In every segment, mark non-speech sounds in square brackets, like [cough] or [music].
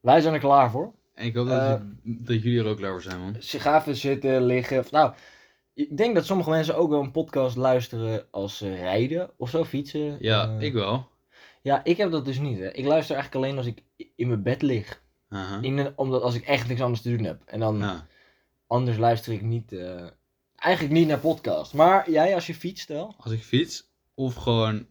Wij zijn er klaar voor. En ik hoop Eh, dat, je- dat jullie er ook klaar voor zijn, man. sigaven zitten, liggen. Of, nou, ik denk dat sommige mensen ook wel een podcast luisteren als ze rijden of zo, fietsen. Ja, Eh, ik wel. ja, ik heb dat dus niet. Hè. Ik luister eigenlijk alleen als ik i- in mijn bed lig. Aha. Nou, In een, omdat als ik echt niks anders te doen heb. En dan Ja. anders luister ik niet. eh, eigenlijk niet naar podcast. Maar jij als je fietst wel. Als ik fiets, of gewoon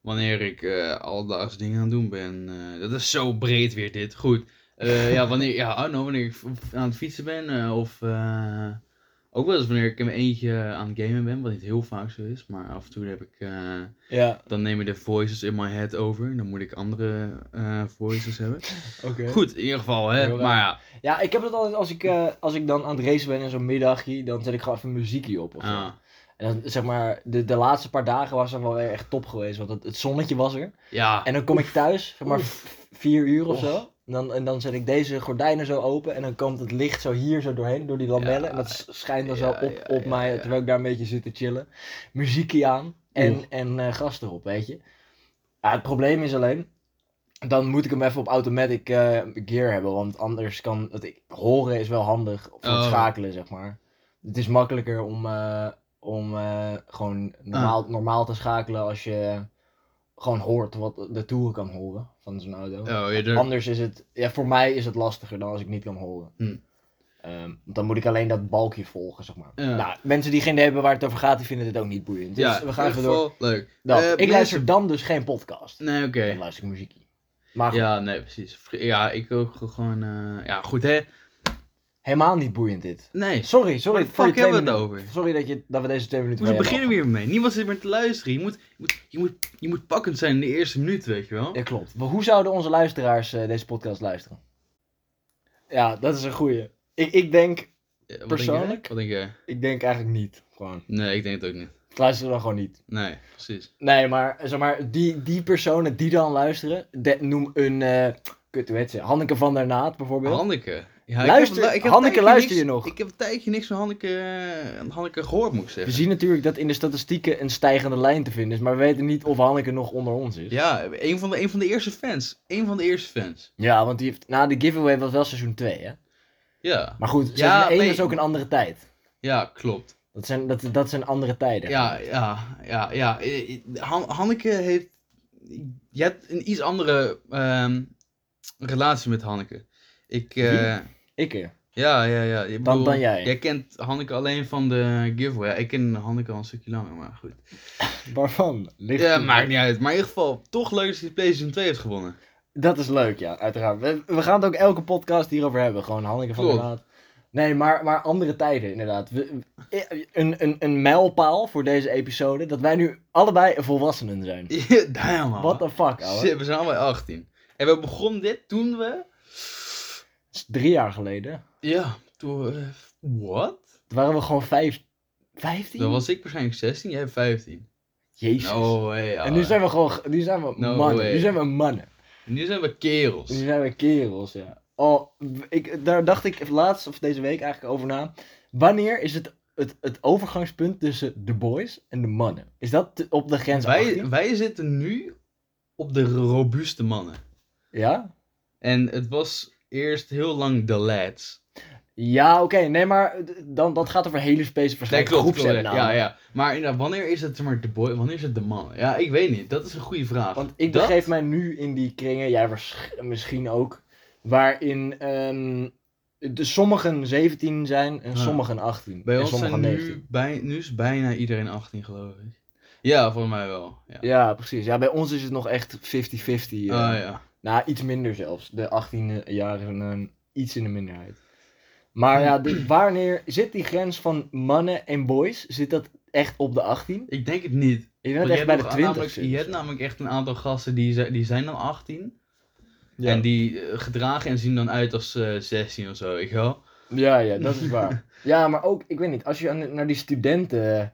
wanneer ik eh alledaagse dingen aan het doen ben. eh, dat is zo breed weer dit. Goed. Eh, ja, wanneer, ja, I don't know, wanneer ik v- aan het fietsen ben. eh, of eh, ook wel eens wanneer ik in mijn eentje aan het gamen ben. Wat niet heel vaak zo is. Maar af en toe heb ik... eh, Ja, dan nemen de voices in my head over. Dan moet ik andere eh, voices hebben. oké. Goed, in ieder geval. Hè, Heel raar. maar ja. Ja, ik heb dat altijd als ik, eh, als ik dan aan het racen ben in zo'n middagje. Dan zet ik gewoon even muziekje op. Of zo. ah. En dan, zeg maar, de, de laatste paar dagen was dan wel weer echt top geweest. Want het, het zonnetje was er. ja. En dan kom ik thuis, zeg maar Oef. v- vier uur of Och. zo. En dan, en dan zet ik deze gordijnen zo open en dan komt het licht zo hier zo doorheen, door die lamellen. en dat s- schijnt dan zo eh, ja, op, ja, op ja, mij, ja. terwijl ik daar een beetje zit te chillen. Muziekje aan en, en eh gas erop, weet je. Ja, het probleem is alleen, dan moet ik hem even op automatic eh, gear hebben. Want anders kan het horen is wel handig voor het Oh. schakelen, zeg maar. Het is makkelijker om, eh, om eh, gewoon Ah. normaal, normaal te schakelen als je gewoon hoort wat de toeren kan horen van zo'n auto. Oh, ja, daar- Anders is het, ja, voor mij is het lastiger dan als ik niet kan horen. Hm. Ehm, want dan moet ik alleen dat balkje volgen, zeg maar. Ja. Nou, mensen die geen idee hebben waar het over gaat, die vinden dit ook niet boeiend. Dus ja, we gaan in even ieder door. geval, leuk. Dan, Eh, ik mensen- luister dan dus geen podcast. Nee, oké. Dan luister ik muziekje. Maar goed, Ja, nee, precies. Vri- Ja, ik ook gewoon. eh, ja, goed hè. helemaal niet boeiend dit. Nee. Sorry, Waar sorry. de voor je fuck hebben we twee het minuten- over? Sorry dat, je, dat we deze twee minuten We mee hebben beginnen weer mee. Niemand zit meer te luisteren. Je moet, je moet, je moet, je moet pakkend zijn in de eerste minuut, weet je wel. Eh, Ja, klopt. Maar hoe zouden onze luisteraars eh, deze podcast luisteren? Ja, dat is een goeie. Ik, ik denk, Eh, wat Denk persoonlijk? jij? Wat denk jij? ik denk eigenlijk niet. Gewoon. Nee, ik denk het ook niet. Ik luister dan gewoon niet. Nee, precies. Nee, maar zeg maar, die, die personen die dan luisteren, de- noem een, eh kut, hoe heet ze? Hanneke van der Naad bijvoorbeeld. Hanneke. Ja, Luister, een- een Hanneke, tijdje luister je niks- nog? Ik heb een tijdje niks van Hanneke, eh, Hanneke gehoord, moet ik we zeggen. zien natuurlijk dat in de statistieken een stijgende lijn te vinden is, maar we weten niet of Hanneke nog onder ons is. Ja, een van, de, een van de eerste fans. Een van de eerste fans. Ja, want die heeft, na de giveaway was wel seizoen 2, hè? Ja, Maar goed, Ja, seizoen 1 nee. is ook een andere tijd. ja klopt. Dat zijn, dat, dat zijn andere tijden. Ja, ja, ja, ja. Eh, eh, Han- Hanneke heeft. Je hebt een iets andere ehm, relatie met Hanneke. Ik. eh, Ik, eh, ja, ja, ja. Ik dan, bedoel, dan jij. Jij kent Hanneke alleen van de giveaway. Ja, ik ken Hanneke al een stukje langer, maar goed. Waarvan? Ligt Ja, toe. maakt niet uit. Maar in ieder geval, toch leuk dat hij PlayStation 2 heeft gewonnen. [laughs] Dat is leuk, ja, uiteraard. We, we gaan het ook elke podcast hierover hebben. Gewoon Hanneke van der Klopt. Laat. Nee, maar, maar andere tijden, inderdaad. We- we- een, een, een mijlpaal voor deze episode: dat wij nu allebei volwassenen zijn. Ja, Damn, man. What the fuck, ouwe. Shit, We zijn allemaal 18. En we begonnen dit toen we. Dat is drie jaar geleden. Ja, toen. we- eh, Wat? Toen waren we gewoon vijf, vijftien? Dan was ik waarschijnlijk 16, jij 15. Jezus. Oh, hey, en nu zijn we gewoon, nu zijn we No mannen. way. Nu zijn we mannen. Nu zijn we kerels. Nu zijn we kerels, ja. Oh, ik, daar dacht ik laatst, of deze week eigenlijk over na. Wanneer is het, het, het overgangspunt tussen de boys en de mannen? Is dat te- op de grens Wij, 18? wij zitten nu op de robuuste mannen. Ja? En het was eerst heel lang de lads. Ja, oké. Nee, maar d- dan, dat gaat over hele space Nee, verschillende klopt, klopt, groepsen. ja, ja, ja. Maar inderdaad, wanneer is het zeg maar de boy, wanneer is het de man? Ja, ik weet niet. Dat is een goede vraag. Want ik Dat- begeef mij nu in die kringen, jij waarsch- misschien ook, waarin ehm, de sommigen 17 zijn en Ja. sommigen 18. Bij en ons sommigen zijn nu, bij, nu is bijna iedereen 18, geloof ik. Ja, volgens mij wel. Ja. Ja, precies. Ja, bij ons is het nog echt 50-50. eh. Ah, ja. Nou, iets minder zelfs. De 18e-jarigen iets in de minderheid. Maar ja, [clears throat] de- wanneer zit die grens van mannen en boys? Zit dat echt op de 18? Ik denk het niet. Ik denk Want dat je echt hebt bij de nog 20 namelijk- zit. Je hebt namelijk echt een aantal gasten die, zijn- die zijn dan 18. Ja. En die eh, gedragen en zien dan uit als eh 16 of zo, weet je wel. Ja, ja, dat is waar. [laughs] ja, maar ook, ik weet niet, als je aan- naar die studenten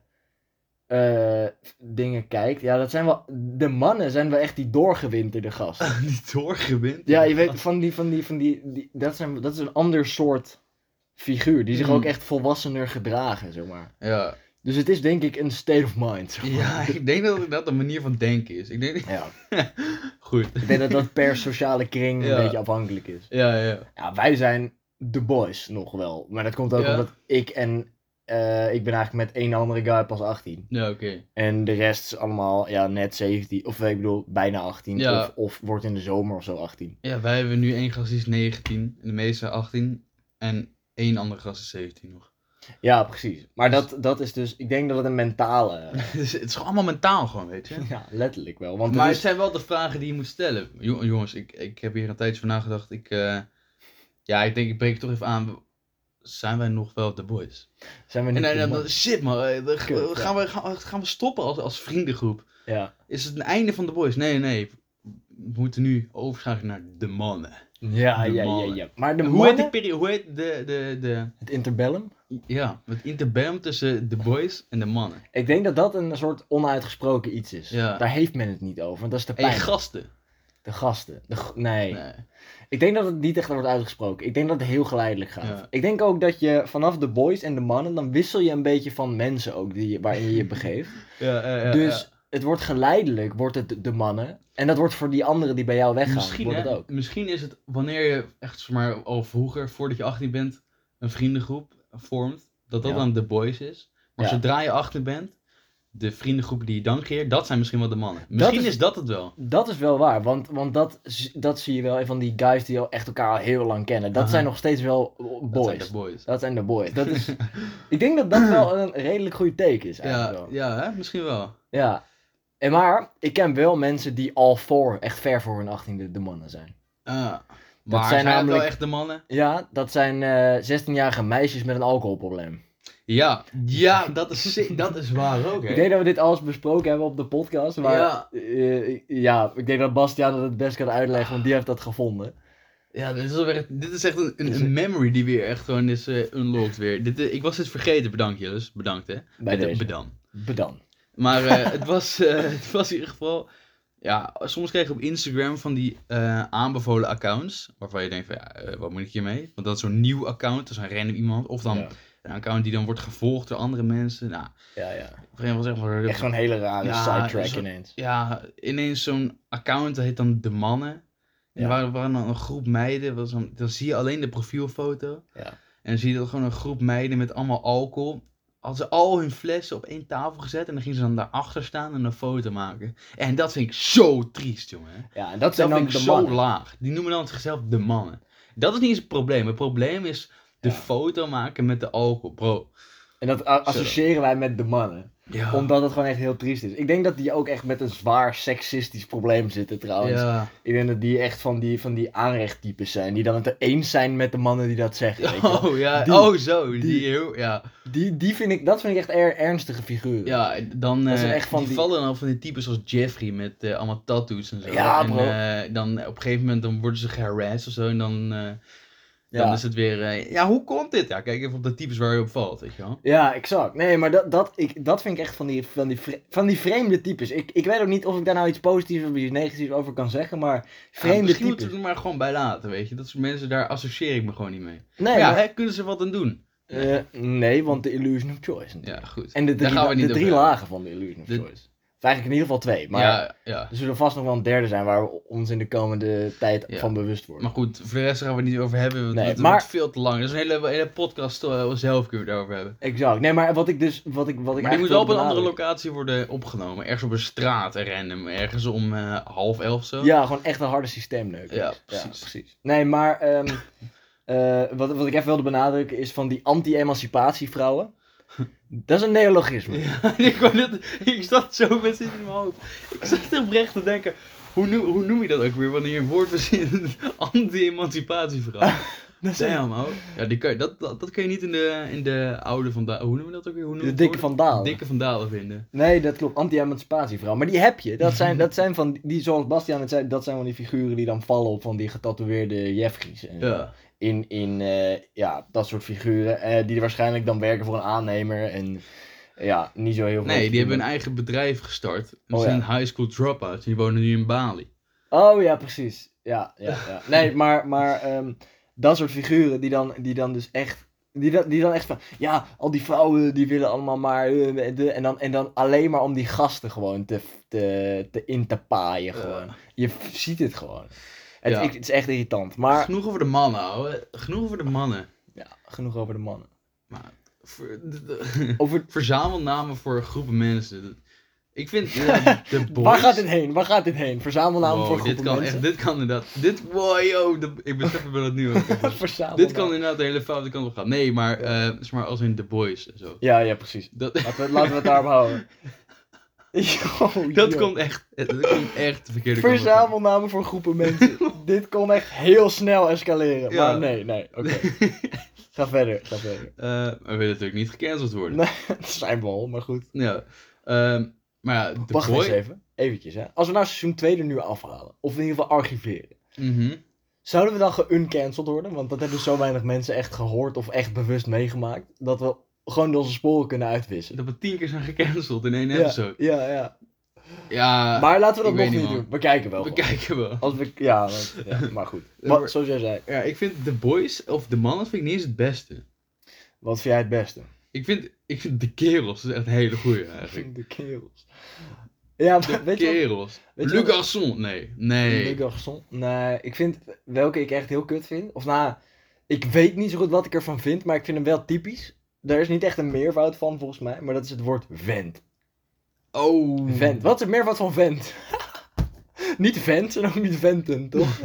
eh, dingen kijkt, ja, dat zijn wel, de mannen zijn wel echt die doorgewinterde [laughs] gasten. die doorgewint. ja, je weet, van die, van die, van die, die- dat, zijn, dat is een ander soort figuur, die zich Hmm. ook echt volwassener gedragen, zeg maar. Ja, Dus het is denk ik een state of mind. zeg maar. Ja, ik denk dat dat een manier van denken is. Ik denk... [laughs] ja. Goed. Ik denk dat dat per sociale kring Ja. een beetje afhankelijk is. Ja, ja. Ja, wij zijn de boys nog wel. Maar dat komt ook Ja. omdat ik en... eh, ik ben eigenlijk met één andere guy pas 18. Ja, oké. En de rest is allemaal ja, net 17. Of eh, ik bedoel, bijna 18. Ja. Of, of wordt in de zomer of zo 18. Ja, wij hebben nu één gast die is 19. En de meeste zijn 18. En één andere gast is 17 nog. [laughs] Ja, precies. Maar dat, dat is dus... Ik denk dat het een mentale... dus het is gewoon allemaal mentaal gewoon, weet je. [laughs] ja, letterlijk wel. Want dus het maar is- het zijn wel de vragen die je moet stellen. Jo- jongens, ik, ik heb hier een tijdje van nagedacht. Ik, eh, ja, ik denk, ik breek het toch even aan. Zijn wij nog wel de boys? zijn we En niet... dan, de dan- man- dan- shit man, eh, dan Kut, ja. gaan, we, gaan, gaan we stoppen als, als vriendengroep? ja. Is het een einde van de boys? Nee, nee. We moeten nu overschakelen naar de mannen. Ja, De ja, ja, mannen. ja. Maar de Hoe heet, die mannen- peri- hoe heet de, de, de, Het interbellum? Ja, het interbellum tussen de boys en de mannen. Ik denk dat dat een soort onuitgesproken iets is. Ja. Daar heeft men het niet over, want dat is de En pijn. je gasten. de gasten. De g- nee. Nee. Ik denk dat het niet echt wordt uitgesproken. Ik denk dat het heel geleidelijk gaat. Ja. Ik denk ook dat je vanaf de boys en de mannen, dan wissel je een beetje van mensen ook die je, waarin [laughs] je je begeeft. Ja, ja, ja, dus ja. het wordt geleidelijk, wordt het de- de mannen. En dat wordt voor die anderen die bij jou weggaan, misschien, wordt het hè, ook. misschien is het wanneer je echt zeg maar, al vroeger, voordat je 18 bent, een vriendengroep vormt, dat dat Ja. dan de boys is. Maar Ja. zodra je 18 bent, de vriendengroep die je dan creëert, dat zijn misschien wel de mannen. Misschien is- is... dat het wel. Dat is wel waar, want, want dat, z- dat zie je wel en van die guys die al echt elkaar al heel lang kennen. Dat Aha. zijn nog steeds wel Dat zijn boys. de boys. Dat zijn de boys. Dat [laughs] is, ik denk dat dat wel een redelijk goede teken is eigenlijk Ja, wel. ja hè? misschien wel. Ja. En maar, ik ken wel mensen die al voor, echt ver voor hun 18e de mannen zijn. Ah. maar zijn zijn, het namelijk- wel echt de mannen? Ja, dat zijn eh, 16-jarige meisjes met een alcoholprobleem. Ja, ja dat, is, sick. dat is waar ook. hè. Ik denk dat we dit alles besproken hebben op de podcast, maar Ja. eh, ja, ik denk dat Bastiaan dat het best kan uitleggen, want die heeft dat gevonden. Ja, dit is, alweer, echt- dit is echt een, Dit een, is een een- memory die weer echt gewoon is eh, unlocked weer. Dit, eh, ik was dit vergeten, bedankt jongens. Bedankt hè. Bij Bedankt. deze. Bedan. Bedan. Maar [laughs] eh, het, was, eh, het was in ieder geval... Ja, soms kreeg ik op Instagram van die eh, aanbevolen accounts. Waarvan je denkt van, ja, eh, wat moet ik hiermee? Want dat is zo'n nieuw account, dat is een random iemand. Of dan Ja. een account die dan wordt gevolgd door andere mensen. Nou, op ja, ja. een gegeven moment zeg maar... Echt zo'n hele rare Ja, sidetrack zo- ineens. Ja, ineens zo'n account, dat heet dan De Mannen. Ja. En er waren, waren dan een groep meiden, was dan, dan zie je alleen de profielfoto. Ja. En dan zie je dan gewoon een groep meiden met allemaal alcohol. Hadden ze al hun flessen op één tafel gezet en dan gingen ze dan daarachter staan en een foto maken. En dat vind ik zo triest, jongen. Ja, en dat Dat, zijn dan vind ik de zo mannen. laag. Die noemen dan zichzelf De Mannen. Dat is niet eens het probleem. Het probleem is de Ja. foto maken met de alcohol, bro. En dat a- associëren wij met de mannen. Ja. Omdat het gewoon echt heel triest is. Ik denk dat die ook echt met een zwaar seksistisch probleem zitten trouwens. ja. Ik denk dat die echt van die, van die aanrechttypes zijn. Die dan het eens zijn met de mannen die dat zeggen. Weet je wel. Oh, [laughs] ja. Die- oh, zo. Die, die- heel, ja. Die, die vind ik, dat vind ik echt er, ernstige figuren. Ja, dan Dat zijn eh, echt van die, die- vallen dan van die types als Jeffrey met eh, allemaal tattoos en zo. Ja, en, bro. eh, dan op een gegeven moment dan worden ze geharassed of zo en dan, eh, dan ja. is het weer, eh, ja, hoe komt dit? Ja, kijk even op de types waar je op valt, weet je wel. Ja, exact. Nee, maar dat, dat, ik, dat vind ik echt van die, van die, vre- van die vreemde types. Ik, ik weet ook niet of ik daar nou iets positiefs of iets negatiefs over kan zeggen, maar Ja, vreemde misschien moeten types. we er maar gewoon bij laten, weet je. Dat soort mensen, daar associeer ik me gewoon niet mee. Nee, Maar ja, maar- hè, kunnen ze wat aan doen? eh, nee, want de illusion of choice. natuurlijk. Ja, goed. En de drie, daar gaan we de niet drie over hebben. lagen van de illusion of De- choice. Of eigenlijk in ieder geval twee, maar... Ja, ja. Er zullen vast nog wel een derde zijn waar we ons in de komende tijd Ja. van bewust worden. Maar goed, voor de rest gaan we het niet over hebben, want Nee, het maar- wordt veel te lang. Er is een hele, hele podcast eh, zelf kunnen we het over hebben. Exact. Nee, maar wat ik dus. Wat ik, wat ik Maar die moet wel eigenlijk op een wil andere benadrukken- locatie worden opgenomen. Ergens op een straat, een random. Ergens om eh, half elf zo. Ja, gewoon echt een harde systeemneuk. Ja, precies. Nee, maar. ehm, [laughs] eh, wat, wat ik even wilde benadrukken is van die [laughs] anti-emancipatievrouwen. Dat is een neologisme. Ja, [laughs] ik, wou net- ik zat zo met zin in mijn hoofd. Ik zat oprecht te denken, hoe, noem- hoe noem je dat ook weer wanneer je een woord verzint? [laughs] [laughs] Anti-emancipatievraag. Dat is een- Damn, ho. Ja, die kan, je- dat, dat, dat kan je niet in de, in de oude Van Dalen... Hoe noem je dat ook weer? Hoe noem je de het dikke woord? van Dalen. Dikke Van Dalen vinden. Nee, dat klopt. Anti-emancipatievrouwen. Maar die heb je. Dat [laughs] zijn, dat zijn van die, zoals Bastiaan het zei, dat zijn van die figuren die dan vallen op van die getatoeëerde Jeffries. En zo. Ja. in, in eh, ja, dat soort figuren. eh, die waarschijnlijk dan werken voor een aannemer. En ja, niet zo heel veel. Nee, die hebben een eigen bedrijf gestart. En Oh, zijn ja. high school dropouts. Die wonen nu in Bali. Oh ja, [laughs] precies. Ja, ja, ja. Nee, maar, maar ehm, dat soort figuren die dan, die dan dus echt Die dan, die dan echt van, ja, al die vrouwen die willen allemaal maar... eh, eh, de- En dan, en dan alleen maar om die gasten gewoon te, te, te in te paaien gewoon. Je f- ziet het gewoon. Het, Ja. ik- het is echt irritant. Maar Genoeg over de mannen, ouwe. Genoeg over de mannen. ja, genoeg over de mannen. Ver- d- d- Over, Verzamel namen voor groepen mensen. Ik vind [laughs] ja, de boys... waar gaat dit heen? Waar gaat dit heen? Verzamel namen Wow, voor dit groepen kan mensen. Echt, dit kan inderdaad. Dit, wow, yo, de- ik besef wel het [laughs] nu ook. Verzamel dit kan namen. inderdaad de hele foute kant op gaan. Nee, maar, eh zeg maar als in The Boys en zo. Ja, ja, precies. [laughs] Dat, Laten we, laten we het daarop houden. [laughs] Yo, dat yo. komt echt, dat komt echt de verkeerde kant op. Verzamelnamen voor groepen [laughs] mensen. Dit kon echt heel snel escaleren. Ja. Maar nee, nee. Oké. Ga verder, ga verder. [laughs] [laughs] Eh, we willen natuurlijk niet gecanceld worden. Nee, het zijn we al, maar goed. Ja. Ehm, maar ja, The Wacht Boy... eens even. Eventjes, hè. Als we nou seizoen 2 er nu afhalen, of in ieder geval archiveren, Mhm. zouden we dan geuncanceld worden? Want dat hebben zo weinig mensen echt gehoord of echt bewust meegemaakt, dat we gewoon onze sporen kunnen uitwissen. Dat we tien keer zijn gecanceld in één Ja, episode. ja, ja. Ja, Maar laten we dat Ah, ik weet nog niet, niet man. doen. We kijken wel. we gewoon. kijken wel. Als we, ja, want- [laughs] ja, maar goed. maar- Wat, zoals jij zei, Ja, ik vind The Boys of de mannen vind ik niet eens het beste. wat vind jij het beste? Ik vind, ik vind de kerels is echt een hele goeie eigenlijk. De kerels. Ja, maar weet je kerels. weet je Le wat- Garçon, nee. wat? Nee. Le Garçon. Nee, ik vind welke ik echt heel kut vind. Of nou, ik weet niet zo goed wat ik ervan vind, maar ik vind hem wel typisch. Daar is niet echt een meervoud van volgens mij, maar dat is het woord vent. Oh. Vent. Wat is het meervoud van vent? [laughs] niet vent en ook niet venten, toch?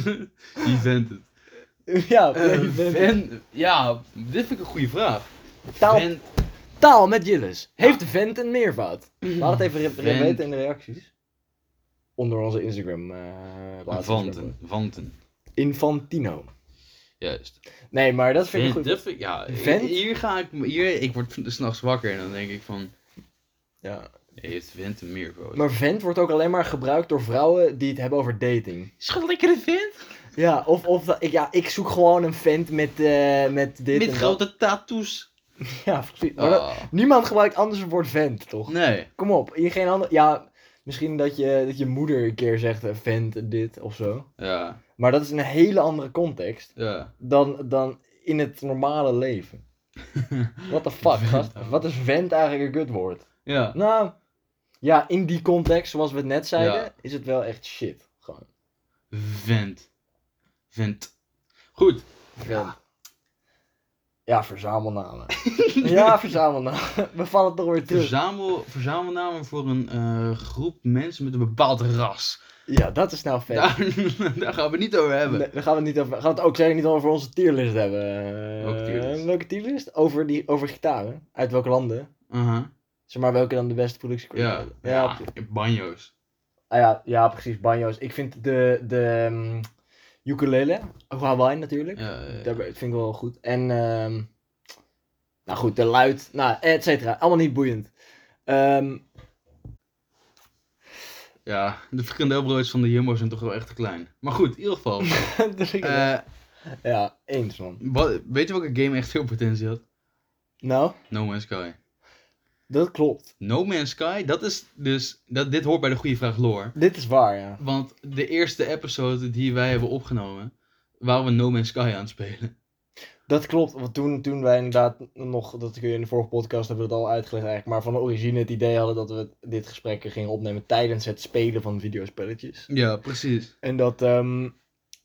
[laughs] Die vent het. [laughs] ja, [laughs] nee, Eh, vent. vent- ja, dit vind ik een goede vraag. Taal, Vent- taal met Jillis. Heeft vent een meervoud? Mhm. Laat het even re- re- Vent. weten in de reacties. Onder onze Instagram. eh laatste Instagram. Vanten. Vanten. Infantino. Juist. Nee, maar dat vind ik Vent, goed. dat vind ik- ja, Vent? hier ga ik, hier, ik word s'nachts wakker en dan denk ik van, Ja. heeft vent een meervoud? Maar vent wordt ook alleen maar gebruikt door vrouwen die het hebben over dating. Schat, lekkere vent. Ja, of, of dat- ik, ja, ik zoek gewoon een vent met, eh, met dit Met en dat. grote tattoos. Ja, precies. Maar dat- Ah, niemand gebruikt anders het woord vent, toch? nee. Kom op, hier geen ander... Ja, misschien dat je, dat je moeder een keer zegt eh, vent dit of zo. Ja, Maar dat is een hele andere context ja. dan, dan in het normale [laughs] leven. What the fuck, Vent, gast? ouwe. Wat is vent eigenlijk een kutwoord? Ja. Nou, ja, in die context, zoals we het net zeiden, Ja. is het wel echt shit. Gewoon. Vent. Vent. Goed. Ja, ja [laughs] verzamelnamen. ja, verzamelnamen. We vallen toch weer terug. Verzamel, verzamelnamen voor een eh, groep mensen met een bepaald ras. Ja, dat is nou vet. Daar, daar [laughs] gaan we het niet over hebben. Nee, daar gaan we het niet over. Gaan we het ook zeker niet over onze tierlist hebben. Eh, Welke tierlist? Welke tierlist? Over, die, over gitaren. Uit welke landen? Aha. Zeg maar welke dan de beste productie Ja. Ja, Ja. pre- Banjo's. ah, ja, ja, precies. Banjo's. Ik vind de, de ehm, ukulele. Ook Hawaii natuurlijk. Ja, ja, ja. Dat vind ik wel goed. En, ehm, nou goed, de luid, nou, et cetera. Allemaal niet boeiend. Ehm, [laughs] Ja, de frikandelbroodjes van de Jumbo zijn toch wel echt te klein. Maar goed, in [laughs] ieder geval. dus ik- eh, ja, eens man. wat, weet je welke game echt veel potentie had? Nou, No Man's Sky. dat klopt. No Man's Sky, dat is dus... Dat, dit hoort bij de goede vraag lore. Dit is waar, ja. Want de eerste episode die wij hebben opgenomen, waren we No Man's Sky aan het spelen. Dat klopt, want toen, toen wij inderdaad nog, dat kun je in de vorige podcast hebben we dat al uitgelegd eigenlijk, maar van de origine het idee hadden dat we dit gesprek gingen opnemen tijdens het spelen van videospelletjes. Ja, precies. En dat ehm,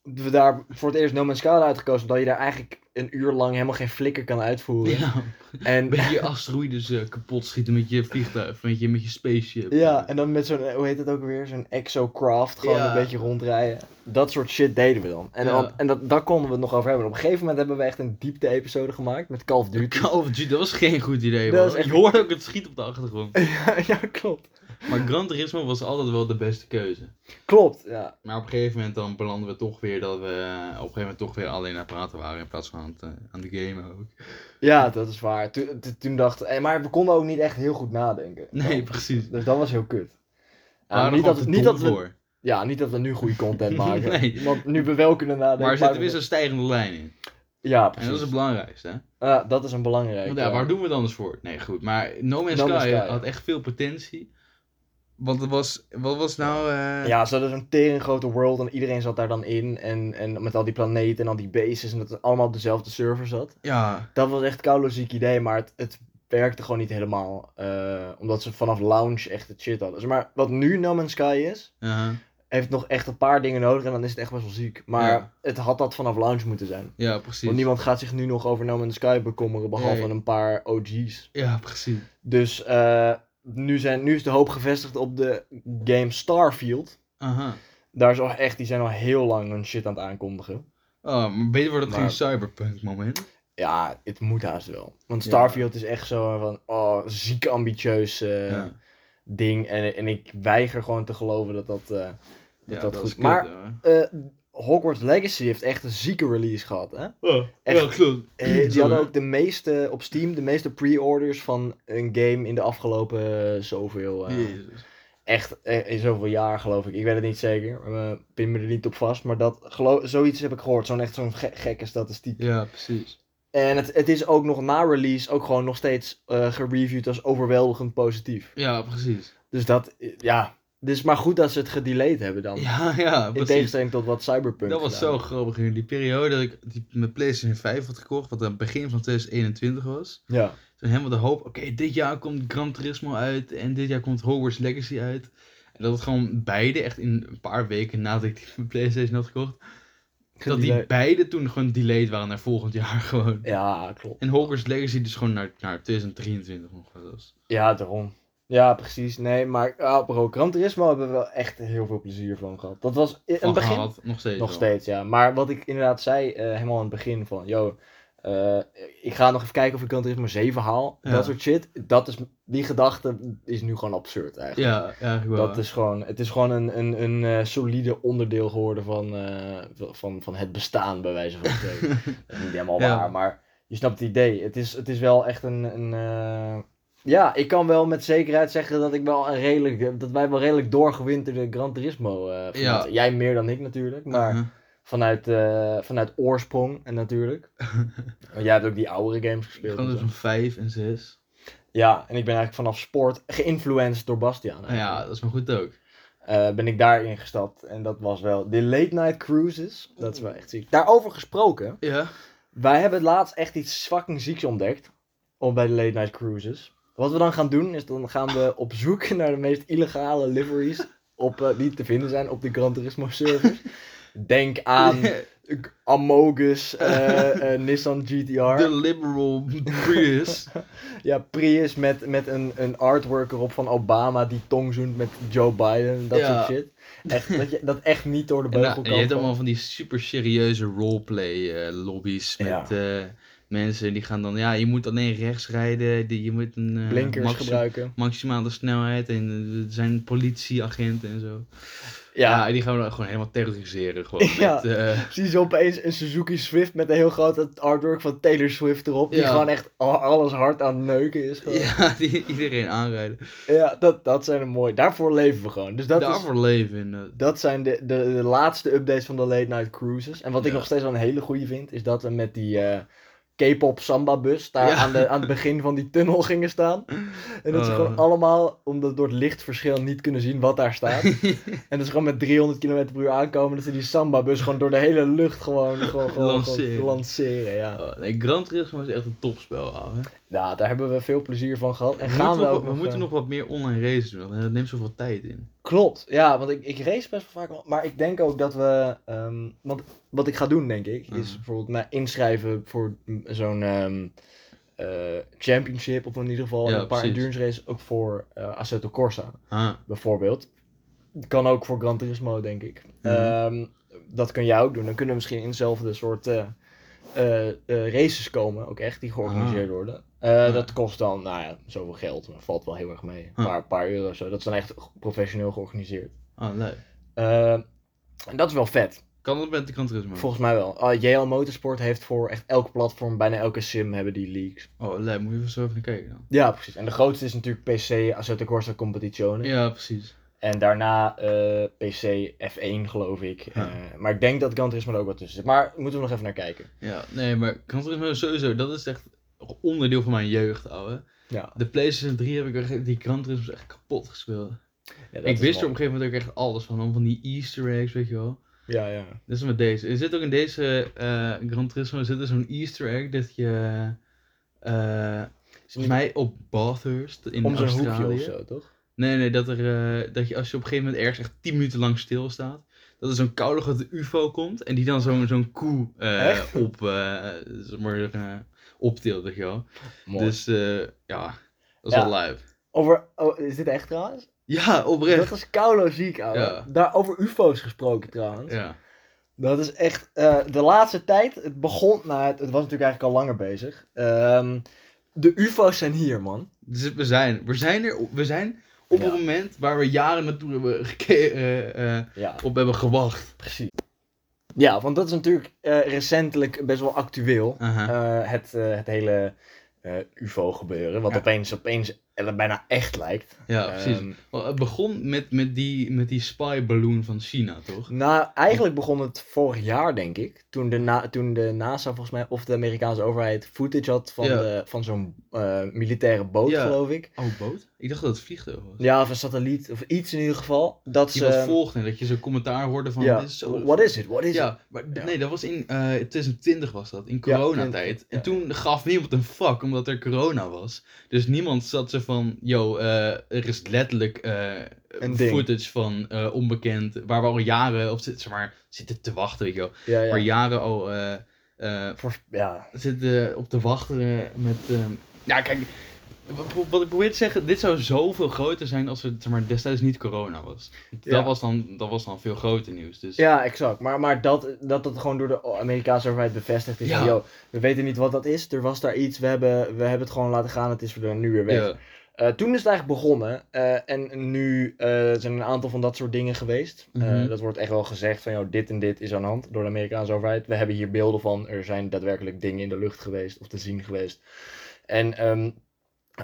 we daar voor het eerst No Man's Sky hadden uitgekozen, omdat je daar eigenlijk een uur lang helemaal geen flikker kan uitvoeren. [laughs] Ja, En een beetje asteroïdes eh, kapot schieten met je vliegtuig, met je, met je spaceship. Ja, en dan met zo'n, eh, hoe heet dat ook weer, zo'n exocraft, gewoon Ja. een beetje rondrijden. Dat soort shit deden we dan. En, Ja. dan- en dat, daar konden we het nog over hebben. Op een gegeven moment hebben we echt een diepte-episode gemaakt met Call of Duty. Call of Duty, dat was geen goed idee, Dat man. was echt- Je hoorde ook het schiet op de [laughs] achtergrond. ja, ja, klopt. Maar Gran Turismo was altijd wel de beste keuze. Klopt, ja. Maar op een gegeven moment dan belanden we toch weer dat we eh, op een gegeven moment toch weer alleen aan het praten waren in plaats van aan, het, eh, aan de game ook. Ja, dat is waar. Toen, toen- toen dacht eh, maar we konden ook niet echt heel goed nadenken. Nee, precies. Dus dat was heel kut. Ja, Waren niet, gewoon dat, te niet, dom dat we, voor. ja, niet dat we nu goede [laughs] content maken. Nee. Want nu we wel kunnen nadenken. Maar er zit maken we- tenminste een stijgende lijn in. Ja, En precies. dat is het belangrijkste, hè? Ja, dat is een belangrijke. Want ja, waar doen we het anders voor? Nee, goed. Maar No Man's No Sky Man's Sky, ja. had echt veel potentie. Want het was, wat was nou... eh, Ja, ze hadden zo'n tering grote world en iedereen zat daar dan in. En, en met al die planeten en al die bases en dat het allemaal op dezelfde server zat. ja. Dat was echt koude ziek idee, maar het, het werkte gewoon niet helemaal. eh, omdat ze vanaf launch echt het shit hadden. Dus maar wat nu No Man's Sky is, aha. heeft nog echt een paar dingen nodig en dan is het echt best wel ziek. Maar Ja. het had dat vanaf launch moeten zijn. Ja, precies. Want niemand gaat zich nu nog over No Man's Sky bekommeren, behalve Nee. een paar OG's. Ja, precies. Dus eh, nu, zijn, nu is de hoop gevestigd op de game Starfield. Aha. Daar is al echt, die zijn al heel lang hun shit aan het aankondigen. Oh, maar beter wordt het Maar- geen cyberpunk moment. Ja, het moet haast wel. Want Ja. Starfield is echt zo van, oh, ziek ambitieus eh, ja. ding. En, en ik weiger gewoon te geloven dat dat... eh, Ja, dat dat, goed. is kut, Maar- ja. eh, Hogwarts Legacy heeft echt een zieke release gehad, [clears throat] hè? echt. Oh, ja, klopt. Eh, die hadden ook de meeste, op Steam, de meeste pre-orders van een game in de afgelopen eh, zoveel... eh, Jezus. echt eh, in zoveel jaar, geloof ik. Ik weet het niet zeker. eh, pin me er niet op vast. Maar dat, geloof, zoiets heb ik gehoord. Zo'n echt zo'n ge- gekke statistiek. Ja, precies. En het, het is ook nog na release ook gewoon nog steeds eh, gereviewd als overweldigend positief. Ja, precies. Dus dat, eh, ja. Dus maar goed dat ze het gedelayed hebben dan. Ja, ja, in precies. tegenstelling tot wat Cyberpunk Dat was gedaan zo grappig in die periode dat ik die, mijn PlayStation 5 had gekocht, wat aan het begin van 2021 was. heeft. Ja. Toen helemaal de hoop, oké, dit jaar komt Gran Turismo uit en dit jaar komt Hogwarts Legacy uit. En dat het gewoon beide, echt in een paar weken nadat ik die [laughs] mijn PlayStation had gekocht, dat die Gedelayed. beide toen gewoon delayed waren naar volgend jaar [laughs] gewoon. Ja, klopt. En Hogwarts Legacy dus gewoon naar, naar 2023 nog wel eens. Ja, daarom. Ja, precies. Nee, maar ah, bro, Gran Turismo hebben we wel echt heel veel plezier van gehad. Dat was in Van het begin gehad, nog steeds. Nog wel. steeds, ja. Maar wat ik inderdaad zei, eh, helemaal aan het begin van, yo, eh, ik ga nog even kijken of ik Gran Turismo 7 haal. Ja. Dat soort shit. Dat is, die gedachte is nu gewoon absurd eigenlijk. Ja, eigenlijk wel. Dat is gewoon, het is gewoon een, een, een eh, solide onderdeel geworden van, eh, van, van het bestaan, bij wijze [laughs] van spreken. dat is niet helemaal Ja. waar, maar je snapt het idee. Het is, het is wel echt een... een eh, Ja, ik kan wel met zekerheid zeggen dat ik wel een redelijk, dat wij wel redelijk doorgewinterde Gran Turismo eh Ja. ja. Jij meer dan ik natuurlijk, maar... Uh-huh. Vanuit, eh, vanuit oorsprong en [laughs] natuurlijk. Want jij hebt ook die oudere games Ik gespeeld. kan en dus zo. van 5 en 6. Ja, en ik ben eigenlijk vanaf sport geïnfluenced door Bastiaan. Nou ja, eigenlijk. dat is maar goed ook. Eh, ben ik daarin gestapt en dat was wel. De late night cruises, dat is wel echt ziek. Daarover gesproken, Ja. wij hebben laatst echt iets fucking zieks ontdekt. Om bij de late night cruises. Wat we dan gaan doen, is dan gaan we op zoek [laughs] naar de meest illegale liveries. Op, eh, die te vinden zijn op de Gran Turismo [laughs] servers. Denk aan Ik- [laughs] Amogus, eh, eh, Nissan De GTR. liberal [laughs] Prius. Ja, Prius met, met een, een artwork erop van Obama die tong zoent met Joe Biden. Dat Ja. soort shit. Echt, dat, je, dat echt niet door de en, nou, beugel en je hebt kan. allemaal van die super serieuze roleplay eh, lobby's met Ja. eh, mensen die gaan dan, ja, je moet alleen rechts rijden, die, je moet een eh, Blinkers maxi- gebruiken. maximale snelheid en eh, er zijn politieagenten en zo. Ja, Ja, en die gaan we dan gewoon helemaal terroriseren. Gewoon [laughs] Ja. met, eh, [laughs] precies opeens een Suzuki Swift met een heel groot artwork van Taylor Swift erop. Die Ja. gewoon echt al- alles hard aan het neuken is. gewoon. Ja, ja, die iedereen aanrijden. dat, dat zijn er mooi. Daarvoor leven we gewoon. Dus dat is Daarvoor leven in eh, dat. Dat zijn de, de, de laatste updates van de late night cruises. En wat ik Ja. nog steeds wel een hele goeie vind, is dat we met die eh, K-pop samba bus daar Ja. aan, de, aan het begin van die tunnel [laughs] gingen staan. En dat ze Oh. gewoon allemaal, omdat door het lichtverschil niet kunnen zien wat daar [laughs] staat. en dat ze gewoon met 300 km per uur aankomen, dat ze die samba bus gewoon door de hele lucht gewoon, gewoon, gewoon, lanceren. Lanceren. gewoon lanceren. Ja. Oh, nee, Gran Turismo is echt een topspel, ouwe. Nou, daar hebben we veel plezier van gehad. En we gaan moeten, we nog- ook we moeten eh, nog wat meer online races doen, want dat neemt zoveel tijd in. Klopt, ja, want ik, ik race best wel vaak. al, Maar ik denk ook dat we. ehm, want wat ik ga doen, denk ik, is Mhm. bijvoorbeeld mij inschrijven voor m- zo'n ehm, eh, championship. Of in ieder geval Ja, een paar precies. endurance races. Ook voor eh Assetto Corsa, Ah, bijvoorbeeld. Kan ook voor Gran Turismo, denk ik. Mhm. Ehm, dat kun jij ook doen. Dan kunnen we misschien in hetzelfde soort eh, eh, eh, races komen, ook echt, die georganiseerd worden. Eh, Dat kost dan, nou ja, zoveel geld. Maar valt wel heel erg mee. Een Ah. paar, paar euro of zo. Dat is dan echt professioneel georganiseerd. ah leuk. Eh, en dat is wel vet. Kan dat met de Gran Turismo? Volgens mij wel. Ah, JL Motorsport heeft voor echt elk platform, bijna elke sim hebben die leaks. Oh, leuk. Moet je even zo even naar kijken dan. Ja, precies. En de grootste is natuurlijk PC Assetto Corsa Competizione. Ja, precies. En daarna eh, PC F1, geloof ik. Ja. Eh, maar ik denk dat Gran Turismo er ook wat tussen zit. Maar moeten we nog even naar kijken. Ja, nee, maar Gran Turismo is sowieso, dat is echt onderdeel van mijn jeugd, ouwe. Ja. De PlayStation 3 heb ik echt, die Gran Turismo is echt kapot gespeeld. Ja, dat ik is wist er wel- op een gegeven moment ook echt alles van, om van die easter eggs, weet je wel. Ja, ja. Dat is met deze. Er zit ook in deze eh Gran Turismo zit er zo'n easter egg dat je, eh, volgens mij op Bathurst in Om zo'n hoekje Australië. of zo, toch? Nee, nee, dat, er, eh, dat je als je op een gegeven moment ergens echt 10 minuten lang stilstaat, dat er zo'n koude grote ufo komt en die dan zo'n zo'n koe eh, Echt? op, eh, zeg maar, eh, optilt, weet je wel. Mooi. Dus eh, ja, dat is Ja. wel live. Over, oh, is dit echt trouwens? Ja, oprecht. Dat is koulo ziek, ouwe. Ja. Daar over ufo's gesproken trouwens. Ja. Dat is echt, eh, de laatste tijd, het begon, nou het, het was natuurlijk eigenlijk al langer bezig. Ehm, de ufo's zijn hier, man. Dus we zijn, we zijn er, op- we zijn op Ja. het moment waar we jaren naartoe hebben geke- eh, eh, Ja, op hebben gewacht. precies. Ja, want dat is natuurlijk eh, recentelijk best wel actueel. Aha. eh, het, eh, het hele eh, ufo-gebeuren, wat Ja. opeens, opeens eh, bijna echt lijkt. ja, precies. Ehm, Wel, het begon met, met, die, met die spy balloon van China, toch? Nou, eigenlijk begon het vorig jaar, denk ik. Toen de, na toen de NASA, volgens mij, of de Amerikaanse overheid, footage had van, Ja. de- van zo'n eh, militaire boot, Ja. geloof ik. Oh, boot? Ik dacht dat het vliegtuig was. Ja, of een satelliet, of iets in ieder geval. Dat Die wat ze. volgde en dat je zo'n commentaar hoorde van... Ja, dit is zo... what is it? What is it? Ja, maar d- Ja. nee, dat was in eh 2020 was dat, in Ja, coronatijd. 20, en ja. toen gaf niemand een fuck, omdat er corona was. Dus niemand zat ze van, yo, eh, er is letterlijk eh, Een ding. footage van eh, onbekend, waar we al jaren op zitten, zeg maar, zitten te wachten, weet je wel. Ja, ja. Waar jaren al eh, eh, Voor- ja. zitten op te wachten eh, met... ehm, ja, kijk, wat- wat ik probeer te zeggen, dit zou zoveel groter zijn als er zeg maar, destijds niet corona was. Ja. Dat, was dan, dat was dan veel groter nieuws, dus... Ja, exact. Maar, maar dat, dat dat gewoon door de Amerikaanse overheid bevestigd is. Ja. van, Yo, we weten niet wat dat is. Er was daar iets. We hebben, we hebben het gewoon laten gaan. Het is er nu weer weg. Ja. Eh, toen is het eigenlijk begonnen. eh, en nu eh, zijn er een aantal van dat soort dingen geweest. Eh, Mhm. dat wordt echt wel gezegd van, joh, dit en dit is aan de hand door de Amerikaanse overheid. We hebben hier beelden van. Er zijn daadwerkelijk dingen in de lucht geweest of te zien geweest. En ehm,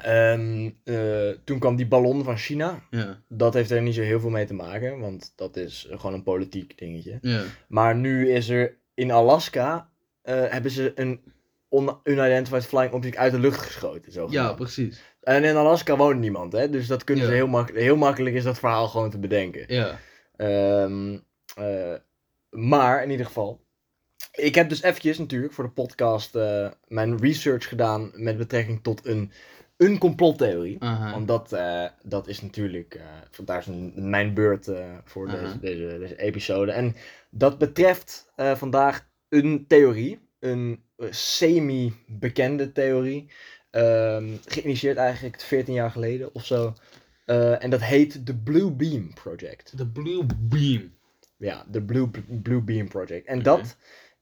ehm, eh, toen kwam die ballon van China. Ja, Dat heeft er niet zo heel veel mee te maken, want dat is gewoon een politiek dingetje. ja. Maar nu is er in Alaska, eh, hebben ze een on- unidentified flying object uit de lucht geschoten. Zo ja precies. en in Alaska woont niemand, hè? Dus dat kunnen Ja. ze heel makkelijk. Heel makkelijk is dat verhaal gewoon te bedenken. Ja. Ehm, eh, maar in ieder geval. Ik heb dus eventjes natuurlijk voor de podcast eh, mijn research gedaan met betrekking tot een, een complottheorie. Aha. Omdat eh, dat is natuurlijk, eh, vandaar is een- mijn beurt eh, voor Aha. deze, deze, deze episode. En dat betreft eh, vandaag een theorie, een eh, semi-bekende theorie. Ehm, geïnitieerd eigenlijk 14 jaar geleden of zo. Eh, en dat heet de Blue Beam Project. De Blue Beam. Ja, de Blue, Blue Beam Project. En Oké. dat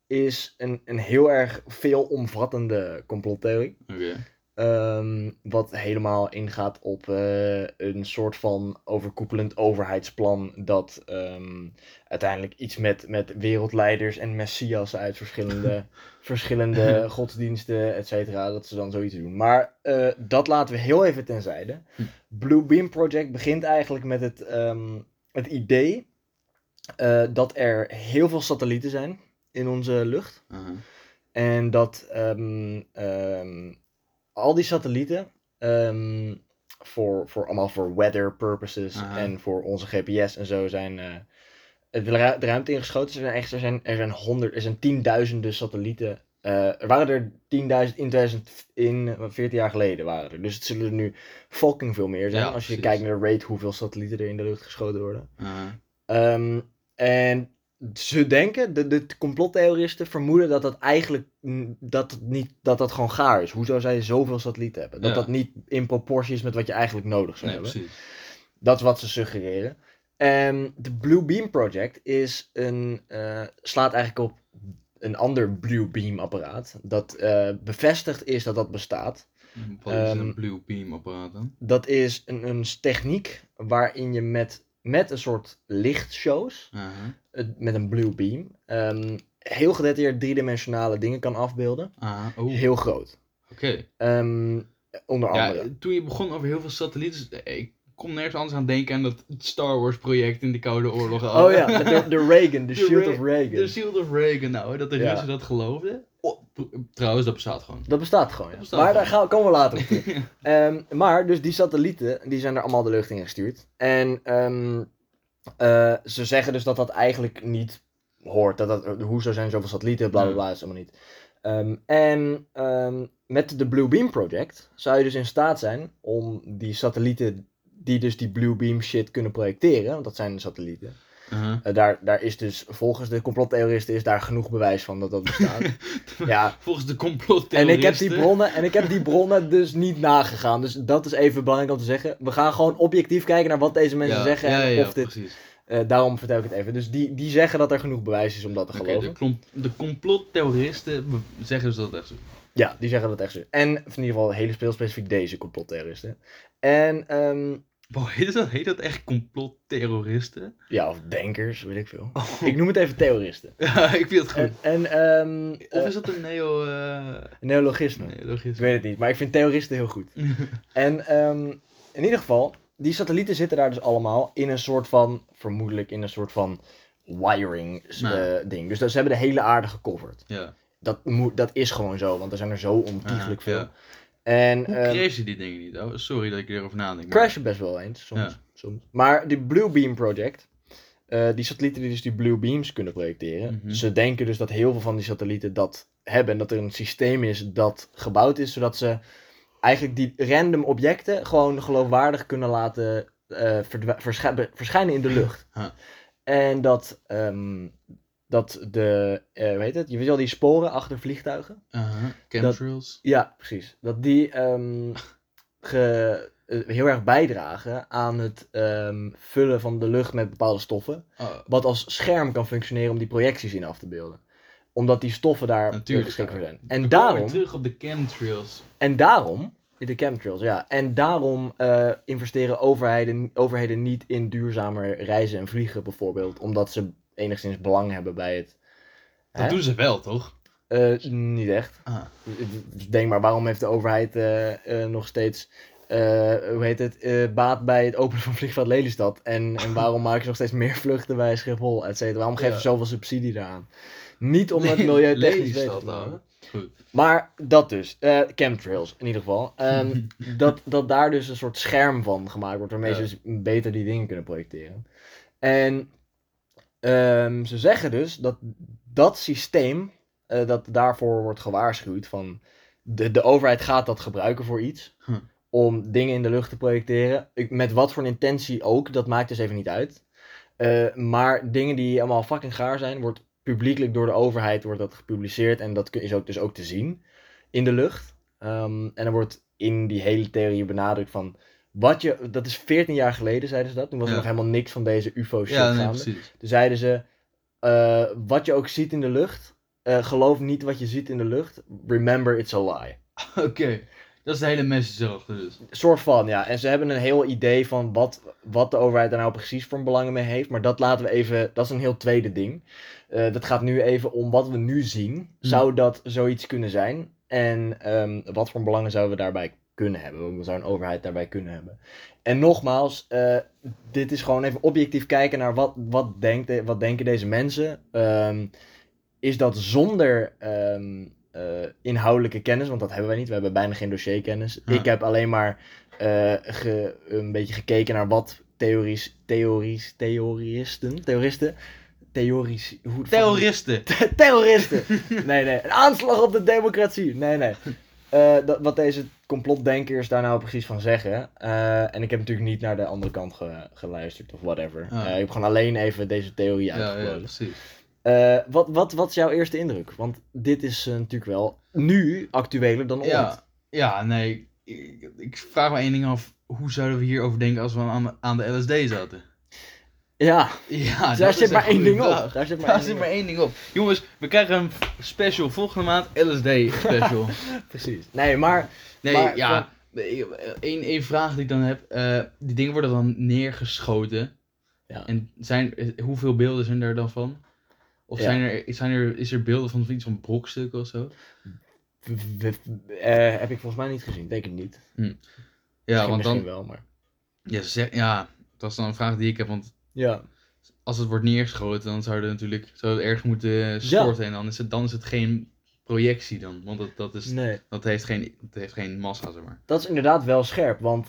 is een, een heel erg veelomvattende complottheorie. Oké. Ehm, wat helemaal ingaat op eh, een soort van overkoepelend overheidsplan. Dat ehm, uiteindelijk iets met, met wereldleiders en messias uit verschillende, verschillende godsdiensten, et cetera. Dat ze dan zoiets doen. Maar eh, dat laten we heel even tenzijde. Hm. Blue Beam Project begint eigenlijk met het, ehm, het idee eh, dat er heel veel satellieten zijn in onze lucht. Aha. En dat ehm, ehm, al die satellieten, ehm, voor, voor, allemaal voor weather purposes Aha. en voor onze GPS en zo, zijn eh, de, ru- de ruimte ingeschoten. Er zijn, echt, er zijn, er zijn, honderd, er zijn tienduizenden satellieten. Eh, er waren er 10.000 in 2000 in eh, 14 jaar geleden waren er. Dus het zullen er nu fucking veel meer zijn. Ja, als je precies. kijkt naar de rate hoeveel satellieten er in de lucht geschoten worden. Aha. Ehm, en ze denken, de, de complottheoristen vermoeden dat dat eigenlijk mm, dat het niet, dat dat gewoon gaar is. Hoezo zij zoveel satellieten hebben? Dat Ja. dat niet in proportie is met wat je eigenlijk nodig zou Nee, hebben. precies. Dat is wat ze suggereren. En de Blue Beam Project is een, eh, slaat eigenlijk op een ander Blue Beam apparaat. Dat eh, bevestigd is dat dat bestaat. Wat is Ehm, een Blue Beam apparaat dan? Dat is een, een techniek waarin je met, met een soort lichtshows... Aha. het- met een blue beam. ehm, heel gedetailleerd driedimensionale dingen kan afbeelden. Aha. Oh, oké. Heel groot. Ehm, onder andere. Ja, toen je begon over heel veel satellieten, eh, ik kon nergens anders aan denken aan dat Star Wars project in de Koude Oorlog. [laughs] oh ja, met de, de Reagan, de eh, De shield Re- of Reagan. De Shield of Reagan, nou, hè, dat de Ja. Russen dat geloofden. O- Oh, Trouwens, dat bestaat gewoon. Dat bestaat gewoon. ja. Dat bestaat maar gewoon. daar gaan, komen we later op. [laughs] terug. Ehm, maar, dus die satellieten, die zijn er allemaal de lucht in gestuurd. En ehm, eh, ze zeggen dus dat dat eigenlijk niet hoort. Dat dat, hoezo zijn zoveel satellieten, bla bla bla, is allemaal niet. Ehm, en ehm, met de Blue Beam Project zou je dus in staat zijn om die satellieten die dus die Blue Beam shit kunnen projecteren, want dat zijn de satellieten. Uh-huh. Eh, daar, daar is dus, volgens de complottheoristen, is daar genoeg bewijs van dat dat [laughs] bestaat. ja, Volgens de en complottheoristen. ik, heb die bronnen, en ik heb die bronnen dus niet nagegaan. Dus dat is even belangrijk om te zeggen. We gaan gewoon objectief kijken naar wat deze mensen Ja, zeggen. ja, en ja, of dit, precies. eh, daarom vertel ik het even. Dus die, die zeggen dat er genoeg bewijs is om dat te Oké, geloven. de, klomp- de complottheoristen be- zeggen dus dat het echt zo. is. Ja, die zeggen dat echt zo. En of in ieder geval heel speelspecifiek deze complotterroristen. En, ehm, Wow, heet dat, heet dat echt complotterroristen? ja, of denkers, weet ik veel. Ik noem het even terroristen. [laughs] ja, ik vind het goed. En, en ehm, Of eh, is dat een neo... eh, neologisme. Ik neologisme? weet het niet, maar ik vind terroristen heel goed. En ehm, in ieder geval, die satellieten zitten daar dus allemaal in een soort van, vermoedelijk in een soort van wiring eh, Nou. ding. Dus dat- ze hebben de hele aarde gecoverd. [laughs] ja. Dat, moet, dat is gewoon zo, want er zijn er zo ontiegelijk Ah, veel. ja. En Hoe ehm, crashen die dingen niet? Oh, sorry dat ik erover nadenk. maar- crashen best wel eens, soms. Ja. soms. Maar die Blue Beam Project, eh, die satellieten die dus die Blue Beams kunnen projecteren. Mhm. Ze denken dus dat heel veel van die satellieten dat hebben. En dat er een systeem is dat gebouwd is, zodat ze eigenlijk die random objecten gewoon geloofwaardig kunnen laten eh, verdwa- verschij- be- verschijnen in de [laughs] lucht. Huh. En dat, ehm, dat de, eh weet het, je weet wel die sporen achter vliegtuigen? Uh-huh. Chemtrails. Ja, precies. Dat die ehm, ge- eh, heel erg bijdragen aan het ehm, vullen van de lucht met bepaalde stoffen. Oh, Wat als scherm kan functioneren om die projecties in af te beelden. Omdat die stoffen daar Natuurlijk. beschikbaar zijn. En we komen weer daarom, terug op de chemtrails. en daarom, de chemtrails, ja. En daarom eh, investeren overheden, overheden niet in duurzamer reizen en vliegen bijvoorbeeld. Omdat ze enigszins belang hebben bij het... Dat Hè? doen ze wel, toch? Eh, niet echt. Ah. Dus Denk maar, waarom heeft de overheid eh, eh, nog steeds, eh, hoe heet het, eh, baat bij het openen van vliegveld Lelystad? En, en waarom maken ze nog steeds meer vluchten bij Schiphol, et cetera? Waarom geven ze Ja. zoveel subsidie daaraan? Niet om het Nee, [laughs] milieu technisch Lelystad beter te dan. maken. Goed. Maar dat dus, eh, chemtrails in ieder geval. Ehm, dat, dat daar dus een soort scherm van gemaakt wordt, waarmee Ja. ze dus beter die dingen kunnen projecteren. En ehm, ze zeggen dus dat dat systeem, eh, dat daarvoor wordt gewaarschuwd van de, de overheid gaat dat gebruiken voor iets. Hm. Om dingen in de lucht te projecteren. Ik, met wat voor een intentie ook, dat maakt dus even niet uit. Eh, maar dingen die allemaal fucking gaar zijn, wordt publiekelijk door de overheid wordt dat gepubliceerd. En dat kun- is ook, dus ook te zien in de lucht. Ehm, en er wordt in die hele theorie benadrukt van. Wat je, dat is 14 jaar geleden, zeiden ze dat. Toen was er Ja. nog helemaal niks van deze UFO-shit Ja, nee, gaande. precies. [laughs] Toen zeiden ze, eh, wat je ook ziet in de lucht, eh, geloof niet wat je ziet in de lucht. Remember it's a lie. Oké. Dat is de hele message erachter dus. soort van, ja. En ze hebben een heel idee van wat, wat de overheid daar nou precies voor belangen mee heeft. Maar dat laten we even, dat is een heel tweede ding. Eh, dat gaat nu even om wat we nu zien. Zou dat zoiets kunnen zijn? En ehm, wat voor belangen zouden we daarbij kunnen hebben? Wat zou een overheid daarbij kunnen hebben? En nogmaals, eh, dit is gewoon even objectief kijken naar wat, wat, denkt, wat denken deze mensen. Ehm, is dat zonder ehm, eh, inhoudelijke kennis, want dat hebben wij niet. We hebben bijna geen dossierkennis. Ja. Ik heb alleen maar eh, ge- een beetje gekeken naar wat theories, theories, theoristen, theoristen, theories, hoe, Terroristen. [laughs] terroristen. Nee, nee. Een aanslag op de democratie. Nee, nee. Eh, dat, wat deze complotdenkers daar nou precies van zeggen. Eh, en ik heb natuurlijk niet naar de andere kant ge- geluisterd of whatever. Ja. Eh, ik heb gewoon alleen even deze theorie Ah. Ja, ja, uitgeplozen. precies. Eh, wat, wat, wat is jouw eerste indruk? Want dit is eh, natuurlijk wel nu actueler dan ooit. Ja, ja nee. Ik, ik vraag me één ding af. Hoe zouden we hierover denken als we aan de, aan de LSD zaten? [laughs] Ja, Ja, daar Ah, dat zit is maar een één goede ding op. vraag. Daar zit maar Daar één zit ding maar op. één ding op. Jongens, we krijgen een special volgende maand. LSD [laughs] special. Precies. Nee, maar... Nee, Maar ja. Eén één vraag die ik dan heb. eh, die dingen worden dan neergeschoten. Ja. En zijn, eh, hoeveel beelden zijn er dan van? Of Ja. zijn er, zijn er, is er beelden van iets van brokstukken of zo? w- w- eh, heb ik volgens mij niet gezien. Denk het niet. Ja, Misschien- want misschien dan. wel, maar... Ja, ze- ja, dat is dan een vraag die ik heb. Want Ja. als het wordt neergeschoten, dan zou er natuurlijk zou het ergens moeten storten. En dan is, het, dan is het geen projectie dan. Want dat, dat, is, Nee. dat, heeft, geen, dat heeft geen massa, zeg maar. Dat is inderdaad wel scherp, want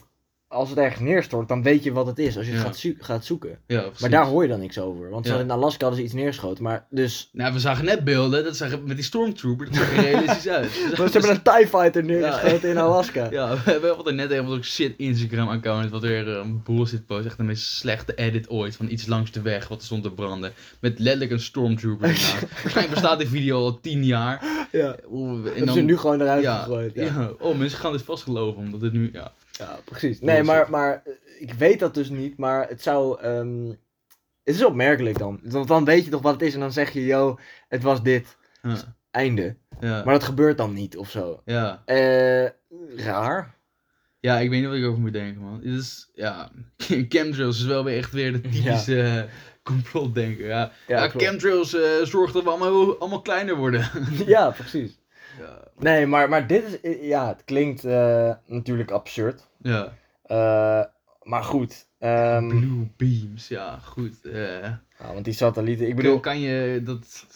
als het ergens neerstort, dan weet je wat het is als je het Ja. gaat, zoek- gaat zoeken. Ja, Maar precies. daar hoor je dan niks over. Want ze Ja. hadden in Alaska hadden ze iets neergeschoten. Maar dus. [laughs] Nou, we zagen net beelden, dat zag, met die stormtrooper, dat zag [laughs] er realistisch uit. Ze hebben een TIE Fighter neergeschoten neergeschoten in Alaska. Ja, we hebben wat er net een zo'n shit Instagram-account. Wat weer eh, een bullshit post. Echt de meest slechte edit ooit. Van iets langs de weg wat stond te branden. Met letterlijk een [laughs] stormtrooper. ernaast. Waarschijnlijk bestaat die video al tien jaar. Ja. Hoe we- En Hebben ze nu gewoon eruit [laughs] ja, gegooid. Ja. ja. Oh, mensen gaan dit vast geloven. Omdat dit nu. Ja. Ja, precies. Bullshit. Nee, maar, maar eh, ik weet dat dus niet, maar het zou. ehm, het is opmerkelijk dan. Want dan weet je toch wat het is en dan zeg je, yo, het was dit. Ja. Einde. Ja. [laughs] Maar dat gebeurt dan niet of zo. ja. Eh, raar. Ja, ik weet niet wat ik over moet denken, man. Dit is. Ja. [laughs] Chemtrails is wel weer echt weer de typische. eh, complotdenker. Ja, ja, Ja, klopt. chemtrails eh, zorgt dat we allemaal, allemaal kleiner worden. [laughs] [laughs] ja precies. ja. Nee, maar, maar dit is. eh, Ja, het klinkt eh, natuurlijk absurd. ja. Eh, maar goed. ehm, Blue beams, ja, goed. eh ja, want die satellieten, ik bedoel, bedoel. kan je dat.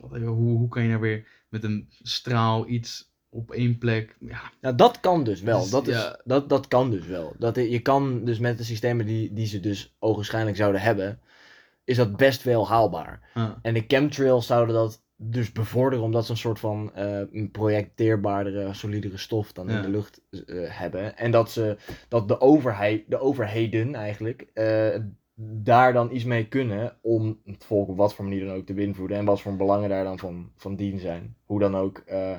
wat- Hoe, hoe kan je nou weer met een straal iets op één plek. Ja, Nou, dat kan dus wel. Dus, Dat, is, ja. dat, dat kan dus wel. Dat, je kan dus met de systemen die, die ze dus ogenschijnlijk zouden hebben, is dat best wel haalbaar. ah, En de chemtrails zouden dat dus bevorderen, omdat ze een soort van eh, een projecteerbaardere, solidere stof dan in Ja. de lucht eh, hebben. En dat, ze, dat de, overheid, de overheden eigenlijk eh, daar dan iets mee kunnen om het volk op wat voor manier dan ook te beïnvloeden. En wat voor belangen daar dan van, van dien zijn. Hoe dan ook eh,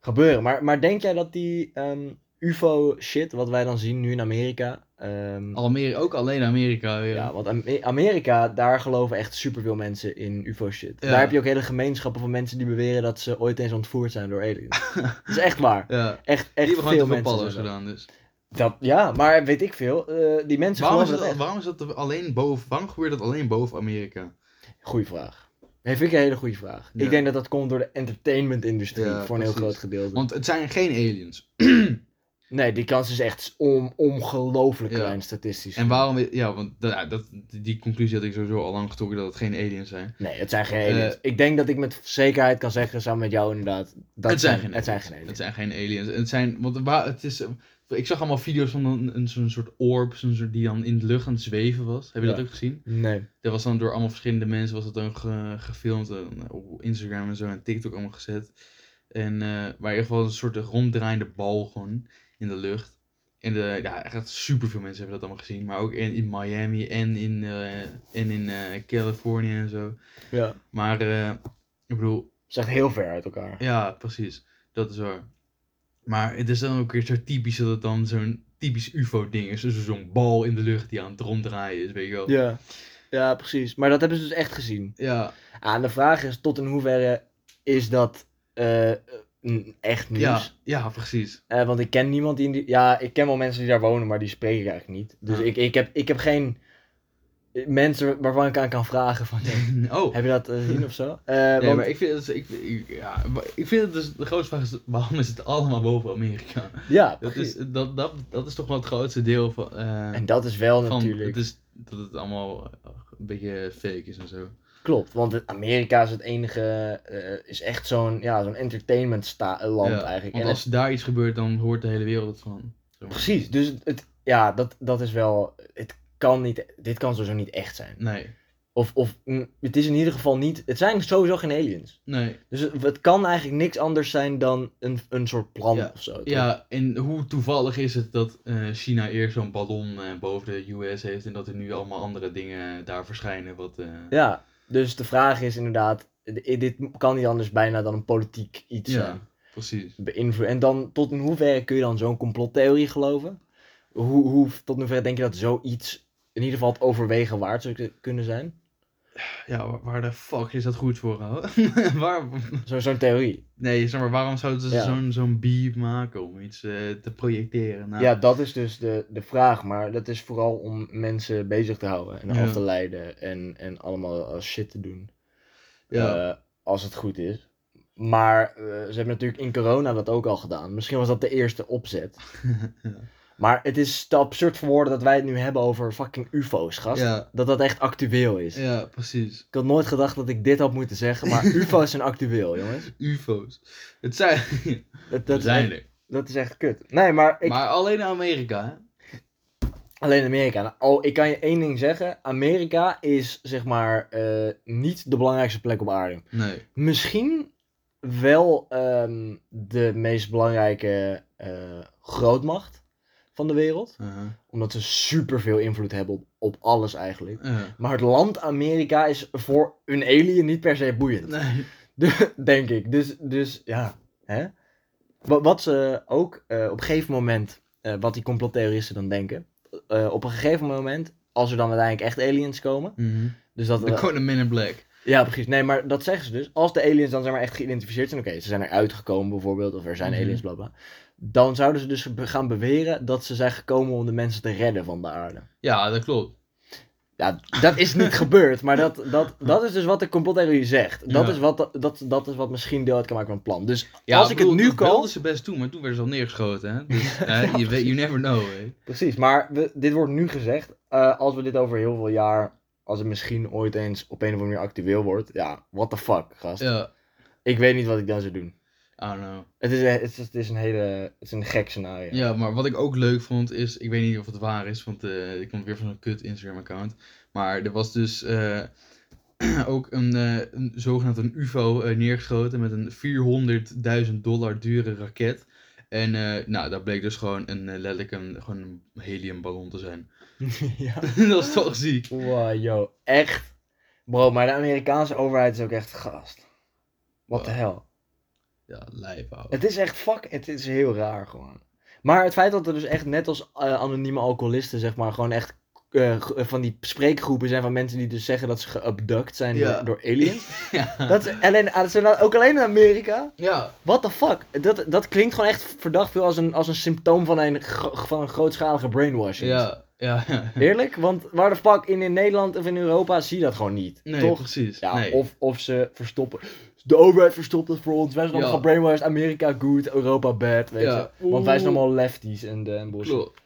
gebeuren. Maar, maar denk jij dat die ehm, UFO-shit, wat wij dan zien nu in Amerika. ehm, Almere, ook alleen Amerika weer. ja, want Am- Amerika, daar geloven echt superveel mensen in UFO-shit. Ja. Daar heb je ook hele gemeenschappen van mensen die beweren dat ze ooit eens ontvoerd zijn door aliens. [laughs] dat is echt waar. Ja, Echt, Die echt hebben gewoon veel te veel mensen. pallo's zijn dat. gedaan. Dus. Dat, ja, maar weet ik veel. eh, die mensen Waarom, is geloven dat, dat echt. waarom is dat alleen boven? Waarom gebeurt dat alleen boven Amerika? Goeie vraag. Nee, vind ik een hele goede vraag. Ja. Ik denk dat dat komt door de entertainment-industrie Ja, voor een heel precies. groot gedeelte. Want het zijn geen aliens. [clears throat] Nee, die kans is echt on- ongelooflijk Ja. klein statistisch. En waarom? Ja, want ja, dat, die conclusie had ik sowieso al lang getrokken dat het geen aliens zijn. Nee, het zijn Eh, geen aliens. ik denk dat ik met zekerheid kan zeggen, samen met jou inderdaad, dat het zijn, geen het zijn aliens. geen aliens. Het zijn geen aliens. Het zijn, want waar, het is, eh, ik zag allemaal video's van een, een, zo'n soort orb zo'n soort, die dan in de lucht aan het zweven was. Heb je Ja. dat ook gezien? Nee. Dat was dan door allemaal verschillende mensen was dat dan ge- gefilmd. eh, op Instagram en zo en TikTok allemaal gezet. En eh maar in ieder geval een soort ronddraaiende bal gewoon in de lucht. En de, ja, echt superveel mensen hebben dat allemaal gezien. Maar ook in, in Miami en in, eh, en in eh, Californië en zo. Ja. Maar eh, ik bedoel, Het is echt heel ver uit elkaar. ja, precies. Dat is waar. Maar het is dan ook weer zo typisch dat het dan zo'n typisch UFO-ding is. Dus zo'n bal in de lucht die aan het ronddraaien is, weet je wel. Ja. ja, precies. Maar dat hebben ze dus echt gezien. Ja, Ah, en de vraag is tot in hoeverre is dat eh, n- echt nieuws? ja, ja, precies. Eh, want ik ken niemand die, in die... Ja, ik ken wel mensen die daar wonen, maar die spreek ik eigenlijk niet. Dus Ja. ik, ik, heb, ik heb geen eh, mensen waarvan ik aan kan vragen van... hey, [laughs] [laughs] Oh, heb je dat eh, gezien of zo? Eh, nee, want- maar ik vind het, dus- ik, ik- ja, maar ik vind het dus, de grootste vraag is, waarom is het allemaal boven Amerika? Ja, Dat precies. is, dat, dat, dat is toch wel het grootste deel van, eh, En dat is wel van natuurlijk... het is, dat het allemaal eh, een beetje fake is en zo. Klopt, want het- Amerika is het enige... eh, is echt zo'n ja, zo'n entertainment sta- land Ja, eigenlijk. Want En als daar iets gebeurt, dan hoort de hele wereld het van. zeg maar. Precies, dus het, het- ja, dat, dat is wel. Het kan niet, dit kan sowieso niet echt zijn. Nee, Of, of mm, het is in ieder geval niet. Het zijn sowieso geen aliens. nee. Dus het, het kan eigenlijk niks anders zijn dan een, een soort plan of zo. toch? Ja, en hoe toevallig is het dat eh, China eerst zo'n ballon eh, boven de US heeft en dat er nu allemaal andere dingen daar verschijnen? Wat, eh, ja, dus de vraag is inderdaad. d- Dit kan niet anders bijna dan een politiek iets Ja. zijn. precies. Beïnvloed. En dan tot in hoeverre kun je dan zo'n complottheorie geloven? Hoe, hoe, tot in hoeverre denk je dat zoiets in ieder geval het overwegen waard zou k- kunnen zijn? Ja, wa- waar de fuck is dat goed voor? ouwe? [laughs] waar... Zo- Zo'n theorie. Nee, zeg maar, waarom zouden ze Ja. zo'n zo'n beep maken om iets eh, te projecteren? Nou, Ja, dat is dus de, de vraag. Maar dat is vooral om mensen bezig te houden en Ja. af te leiden en, en allemaal als shit te doen. ja. Eh, als het goed is. Maar eh, ze hebben natuurlijk in corona dat ook al gedaan. Misschien was dat de eerste opzet. [laughs] Ja. Maar het is te absurd voor woorden dat wij het nu hebben over fucking UFO's, gast. Ja, Dat dat echt actueel is. ja, precies. Ik had nooit gedacht dat ik dit had moeten zeggen, [laughs] maar UFO's zijn actueel, jongens. UFO's. Het zijn, [laughs] Dat, dat, zijn is, er. dat is echt kut. Nee, maar, ik, [laughs] Maar alleen Amerika, hè? alleen Amerika. Nou, al- ik kan je één ding zeggen. Amerika is, zeg maar, eh, niet de belangrijkste plek op aarde. Nee. Misschien wel ehm, de meest belangrijke eh, grootmacht van de wereld. Uh-huh. Omdat ze superveel invloed hebben op, op alles eigenlijk. Ja. Maar het land Amerika is voor een alien niet per se boeiend. Nee. De- Denk ik. Dus, dus ja. Hè? Wat, wat ze ook eh, op een gegeven moment, eh, wat die complottheoristen dan denken. eh, op een gegeven moment, als er dan uiteindelijk echt aliens komen. [laughs] Mhm. Dus dat, De Corner Men in Black. ja, precies. Nee, maar dat zeggen ze dus. Als de aliens dan zeg maar echt geïdentificeerd zijn, oké, ze zijn eruit gekomen bijvoorbeeld, of er zijn Mhm. aliens, bla bla. Dan zouden ze dus be- gaan beweren dat ze zijn gekomen om de mensen te redden van de aarde. Ja, dat klopt. Ja, dat is [laughs] niet gebeurd, maar dat, dat, dat is dus wat de complottheorie zegt. Dat, Ja. is wat, dat, dat is wat misschien deel uit kan maken van het plan. Dus Ja, als ik het bedoel, nu dat wilden kan. ze best doen, maar toen werden ze al neergeschoten, hè? [laughs] Dus, eh, je weet, you never know, hè? Precies, maar we, dit wordt nu gezegd. eh, als we dit over heel veel jaar, als het misschien ooit eens op een of andere manier actueel wordt. Ja, what the fuck, gast. Ja. Ik weet niet wat ik dan zou doen. I don't know. Het is, het is, het is een hele. Het is een gek scenario. [laughs] Ja, maar wat ik ook leuk vond is, ik weet niet of het waar is, want eh ik komt weer van een kut Instagram-account. Maar er was dus eh, [clears throat] ook een, eh, een zogenaamd een UFO eh, neergeschoten met een 400.000 dollar dure raket. En eh, nou, dat bleek dus gewoon een, eh, letterlijk een, gewoon een heliumballon te zijn. [laughs] ja. dat is toch ziek. Wow, yo. Echt. Bro, maar de Amerikaanse overheid is ook echt gast. Wat de Wow. hel. Ja, lijp ouwe. Het is echt fuck. Het is heel raar gewoon. Maar het feit dat er dus echt net als eh, anonieme alcoholisten, zeg maar, gewoon echt eh, g- eh, van die spreekgroepen zijn van mensen die dus zeggen dat ze geabduct zijn Ja. door, door aliens. [laughs] Ja. Dat is alleen, ah, dat zijn dan ook alleen in Amerika. ja. What the fuck? Dat, dat klinkt gewoon echt verdacht veel als een, als een symptoom van een, gro- van een grootschalige brainwashing. Ja, ja, ja. Eerlijk, want waar de fuck in, in Nederland of in Europa zie je dat gewoon niet. Nee, toch? precies. Ja, nee. of, of ze verstoppen. De overheid verstopt het voor ons. Wij zijn allemaal Ja. gebrainwashed. Amerika good, Europa bad. Weet Ja. je. Want wij zijn Oeh. allemaal lefties en, de en bullshit. Klopt.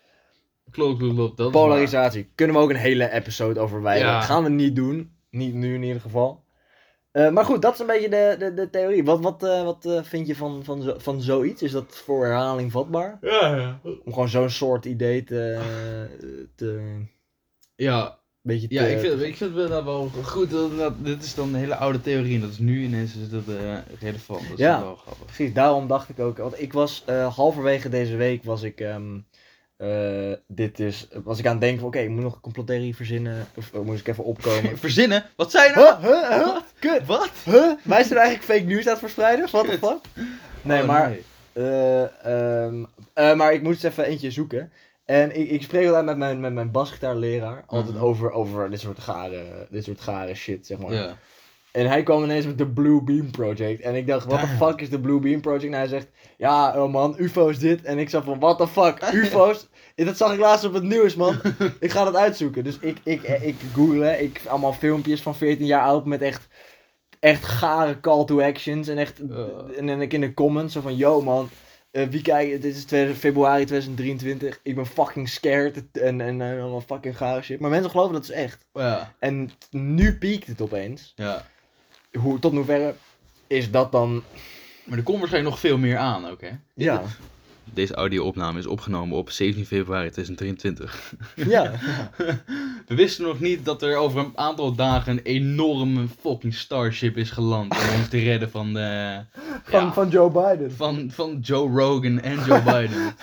Klopt, klopt, klopt. Dat is waar. Polarisatie. Kunnen we ook een hele episode over wijden. Ja. Dat gaan we niet doen. Niet nu in ieder geval. Eh, maar goed, dat is een beetje de, de, de theorie. Wat, wat, eh, wat eh, vind je van, van, zo, van zoiets? Is dat voor herhaling vatbaar? Ja, ja. Om gewoon zo'n soort idee te... eh, te Ja, beetje te, Ja, ik vind, ik vind het wel- wel goed. Dat, dat- dit is dan een hele oude theorie en dat is nu ineens is dat, eh, relevant. Dat is Ja. wel grappig. Precies, daarom dacht ik ook. Want ik was eh, halverwege deze week was ik, ehm, eh, dit is, was ik aan het denken van oké, ik moet nog een complottheorie verzinnen. Of eh, moest ik even [laughs] opkomen. Verzinnen? Wat zijn nou? huh, huh, huh? Kut. Wat? Huh? Wij zijn eigenlijk fake news aan het verspreiden? What the Kut. fuck? Nee, Oh, maar, eh, ehm, eh, maar ik moest even eentje zoeken. En ik, ik spreek altijd met mijn, met mijn basgitaarleraar altijd Mhm. over, over dit, soort gare, dit soort gare shit, zeg maar. Ja. En hij kwam ineens met de Blue Beam Project. En ik dacht, wat the Damn. fuck is de Blue Beam Project? En hij zegt, ja oh man, UFO's dit. En ik zag van, what the [laughs] fuck, UFO's? dat zag ik laatst op het nieuws, man. Ik ga dat uitzoeken. Dus ik, ik, eh, ik google, ik allemaal filmpjes van 14 jaar oud met echt, echt gare call to actions. En echt, Eh. en dan ik in de comments zo van, yo man. eh, wie kijkt, dit is 20 februari 2023. Ik ben fucking scared. En, en, en allemaal fucking gare shit. Maar mensen geloven dat is echt. Ja. En nu piekt het opeens ja. hoe, tot hoeverre is dat dan. Maar er komt waarschijnlijk nog veel meer aan ook, hè? Ja, Deze audio-opname is opgenomen op 17 februari 2023. ja. [laughs] We wisten nog niet dat er over een aantal dagen een enorme fucking Starship is geland om ons te redden van, de, Van, ja, van Joe Biden. van, van Joe Rogan en Joe Biden.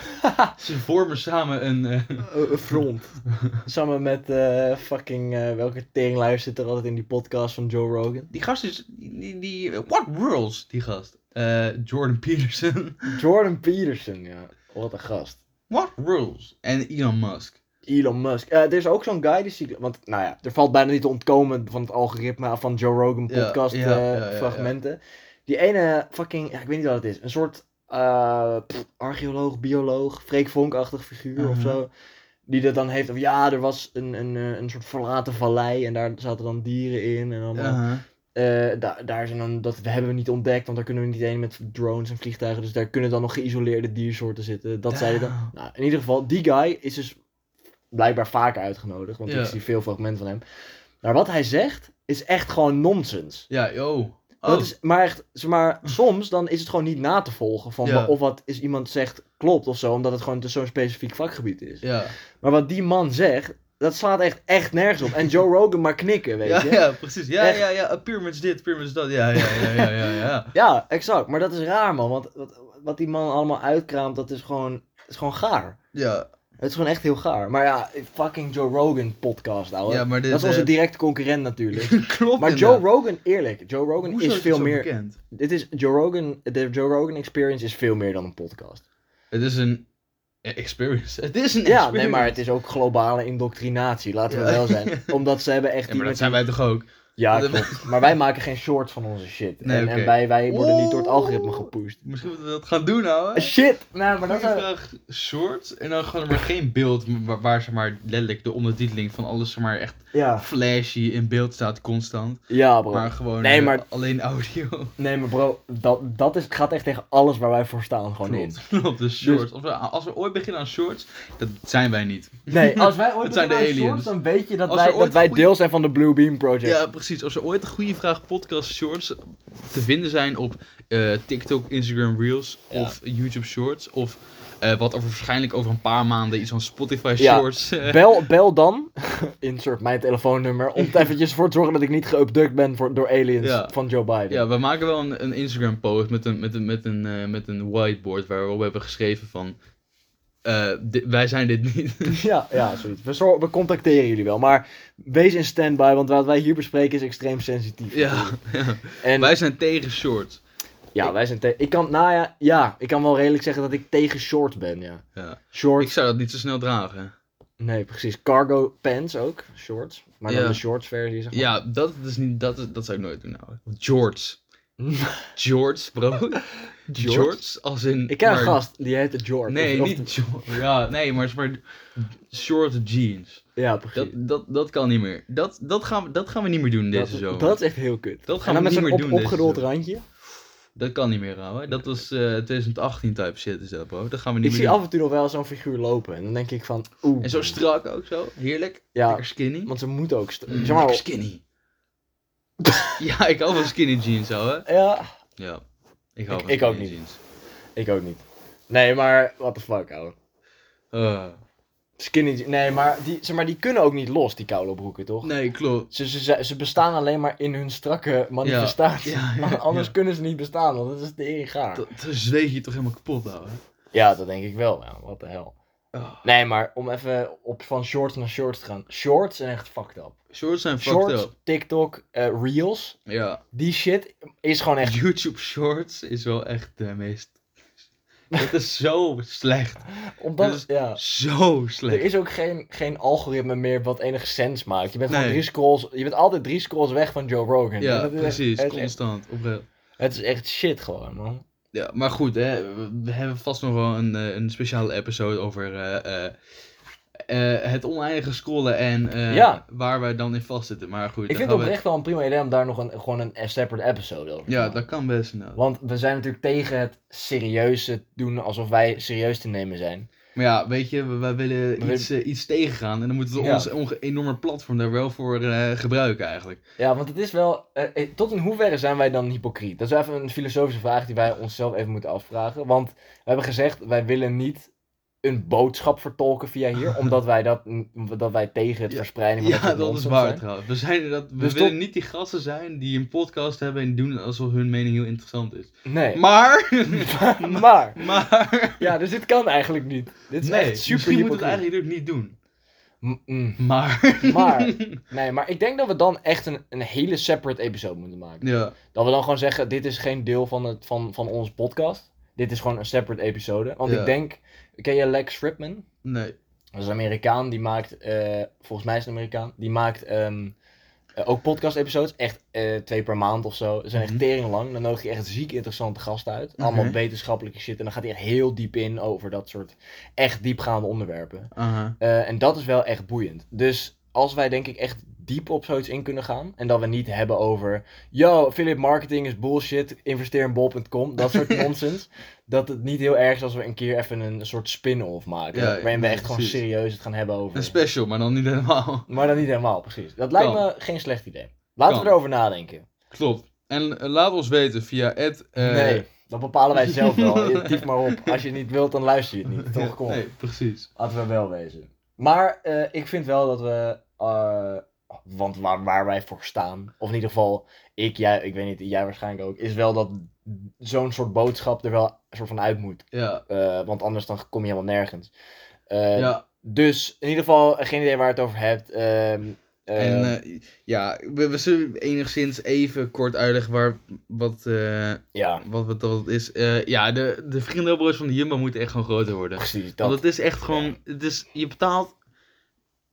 Ze vormen samen een... eh, Eh, eh, front. [laughs] Samen met eh, fucking. eh, welke teringluier zit er altijd in die podcast van Joe Rogan? Die gast is. Die, die, what Worlds, die gast. Eh, Jordan Peterson. [laughs] Jordan Peterson, ja. Wat een gast. What Worlds. En Elon Musk. Elon Musk. Eh, er is ook zo'n guy die ziet. Want, nou ja, er valt bijna niet te ontkomen van het algoritme van Joe Rogan Ja, podcast ja, eh, ja, ja, ja. fragmenten. Die ene fucking. Ja, ik weet niet wat het is. Een soort. eh, pff, archeoloog, bioloog, Freek Vonk-achtig figuur of Mhm. zo. Die dat dan heeft. Of ja, er was een, een, eh, een soort verlaten vallei en daar zaten dan dieren in en allemaal. Uh-huh. eh, da- daar zijn dan, dat hebben we niet ontdekt, want daar kunnen we niet heen met drones en vliegtuigen. Dus daar kunnen dan nog geïsoleerde diersoorten zitten. Dat zei hij dan. Damn. Nou, in ieder geval, die guy is dus blijkbaar vaker uitgenodigd, want Ja. ik zie veel fragmenten van hem. Maar wat hij zegt, is echt gewoon nonsens. Ja, yo. Oh, Hm. Dat is, maar echt, zeg maar, soms dan is het gewoon niet na te volgen van Ja. wa- of wat is iemand zegt klopt of zo, omdat het gewoon dus zo'n specifiek vakgebied is. ja. Maar wat die man zegt, dat slaat echt, echt nergens op. En Joe Rogan maar knikken, weet Ja, je. ja, precies. Ja, Echt. ja, ja. Pyramids dit, pyramids dat. Ja, ja, ja, ja, ja. [laughs] ja. Ja, exact. Maar dat is raar, man. Want wat, wat die man allemaal uitkraamt, dat is gewoon, is gewoon gaar. ja. Het is gewoon echt heel gaar. Maar ja, fucking Joe Rogan podcast, ouwe. Ja, maar dit, dat is onze eh, directe concurrent [laughs] natuurlijk. [laughs] Klopt. maar Joe inderdaad. Rogan, eerlijk, Joe Rogan Hoezo is dit veel zo meer... Bekend? Dit is Joe Rogan, de Joe Rogan Experience is veel meer dan een podcast. [laughs] Het is een eh, experience. Het is een Ja, experience. nee, maar het is ook globale indoctrinatie, laten we Ja. wel [laughs] zijn. Omdat ze hebben echt... Ja, die maar dat met zijn die- wij toch ook? Ja, [laughs] Dat- klopt. Maar wij maken geen shorts van onze shit. Nee, en, oké. en wij, wij worden niet door het Oeh. algoritme gepusht. Misschien moeten we dat gaan doen, ouwe. Shit! Nou, maar Maar dan dat zijn... graag short en dan gewoon er maar geen beeld wa- waar, zeg maar letterlijk de ondertiteling van alles zeg maar echt Ja, flashy in beeld staat constant. ja bro. Maar gewoon Oh. Nee, eh, maar- Oh, alleen audio. Nee, maar bro, dat, dat is, gaat echt tegen alles waar wij voor staan gewoon in. Klopt, [laughs] klopt. Dus shorts. Of we- als we ooit beginnen aan shorts, dat zijn wij niet. Nee, als [laughs] wij ooit Het zijn beginnen de aan shorts, dan aliens. weet je dat Als wij, er ooit dat wij goeie- deel zijn van de Blue Beam Project. Ja, precies. Als er ooit een goede vraag podcast shorts te vinden zijn op eh, TikTok, Instagram Reels Ja. of YouTube Shorts. Of eh, wat over waarschijnlijk over een paar maanden iets van Spotify Ja. Shorts. eh, Bel, bel dan, [laughs] insert mijn telefoonnummer, [laughs] om er eventjes voor te zorgen dat ik niet geupdukt ben voor, door aliens Ja. van Joe Biden. Ja, we maken wel een, een Instagram post met een, met een, met een, eh, met een whiteboard waarop we hebben geschreven van eh, di- wij zijn dit niet. [laughs] [laughs] Ja, ja zoiets. We, zor- we contacteren jullie wel, maar wees in stand-by, want wat wij hier bespreken is extreem sensitief. ja, ja. En wij zijn tegen shorts. ja, wij zijn tegen... Ik kan, nou ja, ja, ik kan wel redelijk zeggen dat ik tegen short ben, ja. Ja. Short, Ik zou dat niet zo snel dragen. nee precies. Cargo pants ook, shorts. Maar dan Ja. de shorts versie, zeg maar. Ja, dat, is niet, dat, is- dat zou ik nooit doen nou. [laughs] Jorts. Jorts, bro. Jorts? Jorts, als in... Ik ken een maar- gast, die heette George. Nee, Of- niet jorts. Ja, nee, maar, maar short jeans. Ja, precies. Dat, dat, dat kan niet meer. Dat, dat, gaan, we- dat gaan we niet meer doen deze dat, zomer. dat is echt heel kut. Dat gaan en dan we met niet zo'n meer doen deze opgerold zomer. randje. Dat kan niet meer, ouwe. Dat was eh, 2018 type shit is dat, bro. Dat gaan we niet Ik meer zie doen. af en toe nog wel zo'n figuur lopen. En dan denk ik van, oeh. En zo strak ook zo. Heerlijk. Ja. Lekker skinny. Want ze moeten ook... st- Mm, zeg maar, lekker [laughs] skinny. ja, ik hou van skinny jeans, ouwe. ja, Ja. Ik hou Ik- van ik ook skinny niet. jeans. ik ook niet. Nee, maar what the fuck, ouwe. Eh, Skinny... je- Nee, maar die, zeg maar die kunnen ook niet los, die koude broeken, toch? nee, klopt. Ze, ze, ze, ze bestaan alleen maar in hun strakke manifestatie. Ja, ja, Maar [laughs] anders ja. kunnen ze niet bestaan, want dat is de ering gaar. Dan dan zweet je toch helemaal kapot, ouwe. Ja, dat denk ik wel. Ja, wat de hel. Ah. Nee, maar om even op, van shorts naar shorts te gaan. Shorts zijn echt fucked up. Shorts zijn fucked Shorts, up. TikTok, eh, Reels. Ja. Die shit is gewoon [laughs] echt... YouTube Shorts is wel echt de meest... [laughs] Het is zo slecht. Omdat, Dus- ja, Zo er slecht. is ook geen, geen algoritme meer wat enige sens maakt. Je bent, gewoon Nee. drie scrolls, je bent altijd drie scrolls weg van Joe Rogan. Ja, Dat is echt- precies. Het is, echt, Constant. Oprecht. het is echt shit gewoon, man. Ja, maar goed, hè, we- we hebben vast nog wel een, eh, een speciale episode over eh, eh, eh, het oneindige scrollen en eh, Ja. waar wij dan in vastzitten. Maar goed, Ik daar vind het gaan we- oprecht wel een prima idee om daar nog een, gewoon een separate episode over te Ja, maken. dat kan best. Nou. Want we zijn natuurlijk tegen het serieuze doen alsof wij serieus te nemen zijn. Maar ja, weet je, we- wij willen We- iets, eh, iets tegengaan en dan moeten we Ja. ons onge- enorme platform daar wel voor eh, gebruiken eigenlijk. Ja, want het is wel. eh, eh, tot in hoeverre zijn wij dan hypocriet? Dat is even een filosofische vraag die wij onszelf even moeten afvragen. Want we hebben gezegd, wij willen niet een boodschap vertolken via [laughs] hier, omdat wij dat, dat wij tegen het Ja. verspreiden van Ja, soort dat is nonsens waar zijn. trouwens. We, zijn dat, we Dus willen tot- niet die gasten zijn die een podcast hebben en doen alsof hun mening heel interessant is. Nee. Maar... [laughs] Maar, [laughs] maar- maar... Ja, dus dit kan eigenlijk niet. Dit is Nee, echt super misschien moeten we het hypocriet. eigenlijk niet doen. M- mm. Maar. Maar, nee, maar ik denk dat we dan echt een, een hele separate episode moeten maken. Ja, Dat we dan gewoon zeggen, dit is geen deel van, het, van, van onze podcast. Dit is gewoon een separate episode. Want Ja. ik denk, ken je Lex Friedman? nee. Dat is een Amerikaan, die maakt, eh, volgens mij is het een Amerikaan, die maakt ehm, eh, ook podcast episodes. Echt eh, twee per maand of zo. Ze zijn echt Mhm. tering lang. Dan nodig je echt ziek interessante gasten uit. Allemaal Oké. wetenschappelijke shit. En dan gaat hij echt heel diep in over dat soort echt diepgaande onderwerpen. Aha. Eh, en dat is wel echt boeiend. Dus als wij denk ik echt diep op zoiets in kunnen gaan. En dat we niet hebben over, yo, Philip marketing is bullshit, investeer in bol.com, dat [laughs] soort nonsens. Dat het niet heel erg is als we een keer even een soort spin-off maken. Ja, waarin we ja, echt gewoon precies. serieus het gaan hebben over. Een special, maar dan niet helemaal. [laughs] Maar dan niet helemaal, precies. Dat lijkt me geen slecht idee. Laten Kan. we erover nadenken. Klopt. En eh, laat ons weten via eh, het. nee, dat bepalen wij zelf wel. [laughs] Je- Typ maar op. Als je het niet wilt, dan luister je het niet. Toch, kom. op. Nee, precies. Laten we wel wezen. Maar eh, ik vind wel dat we. eh, want waar, waar wij voor staan, of in ieder geval ik, jij, ik weet niet, jij waarschijnlijk ook, is wel dat zo'n soort boodschap er wel een soort van uit moet. Ja. Eh, want anders dan kom je helemaal nergens. Eh, ja. Dus in ieder geval, geen idee waar je het over hebt. Ehm, eh, En eh, ja, we, we zullen enigszins even kort uitleggen waar, wat, eh, ja, wat, wat, wat het is. Eh, ja, de, de vriendenbroodjes van de Jumbo moeten echt gewoon groter worden. precies. Dat, Want het is echt gewoon, het is, je betaalt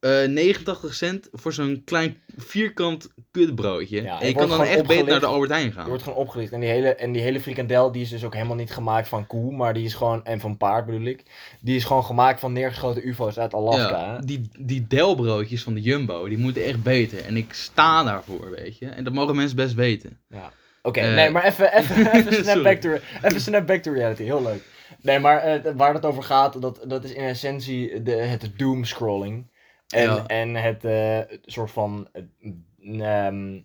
eh 89 cent voor zo'n klein vierkant kutbroodje. Ja, het en je kan wordt gewoon dan echt beter naar opgelicht. de Albert Heijn Je gaan. wordt gewoon opgelicht. En die, hele, en die hele frikandel die is dus ook helemaal niet gemaakt van koe, maar die is gewoon, en van paard bedoel ik. Die is gewoon gemaakt van neergeschoten ufo's uit Alaska. Ja, die, die delbroodjes van de Jumbo, die moeten echt beter. En ik sta daarvoor, weet je. En dat mogen mensen best weten. Oké, Eh, nee, maar even, even, [laughs] even, snap sorry. back to, even snap back to reality. Heel leuk. Nee, maar eh, waar het over gaat, dat, dat is in essentie de, het doomscrolling. En, Ja. en het eh, soort van eh, n- ehm,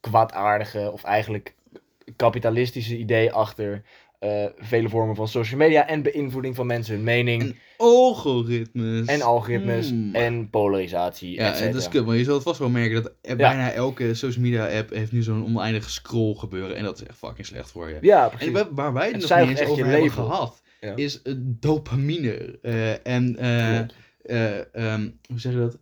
kwaadaardige of eigenlijk kapitalistische idee achter eh, vele vormen van social media en beïnvloeding van mensen hun mening. En algoritmes. En algoritmes Mm. en polarisatie. Ja, et en dat is cetera. kut, maar je zult vast wel merken dat eh, bijna elke social media app heeft nu zo'n oneindige scroll gebeuren. En dat is echt fucking slecht voor je. Ja, En precies. waar- waar wij het Het nog niet zuigt eens echt over je hebben leven op. gehad, Ja. is eh, dopamine. eh, en, eh, Klopt. eh, ehm, hoe zeg je dat?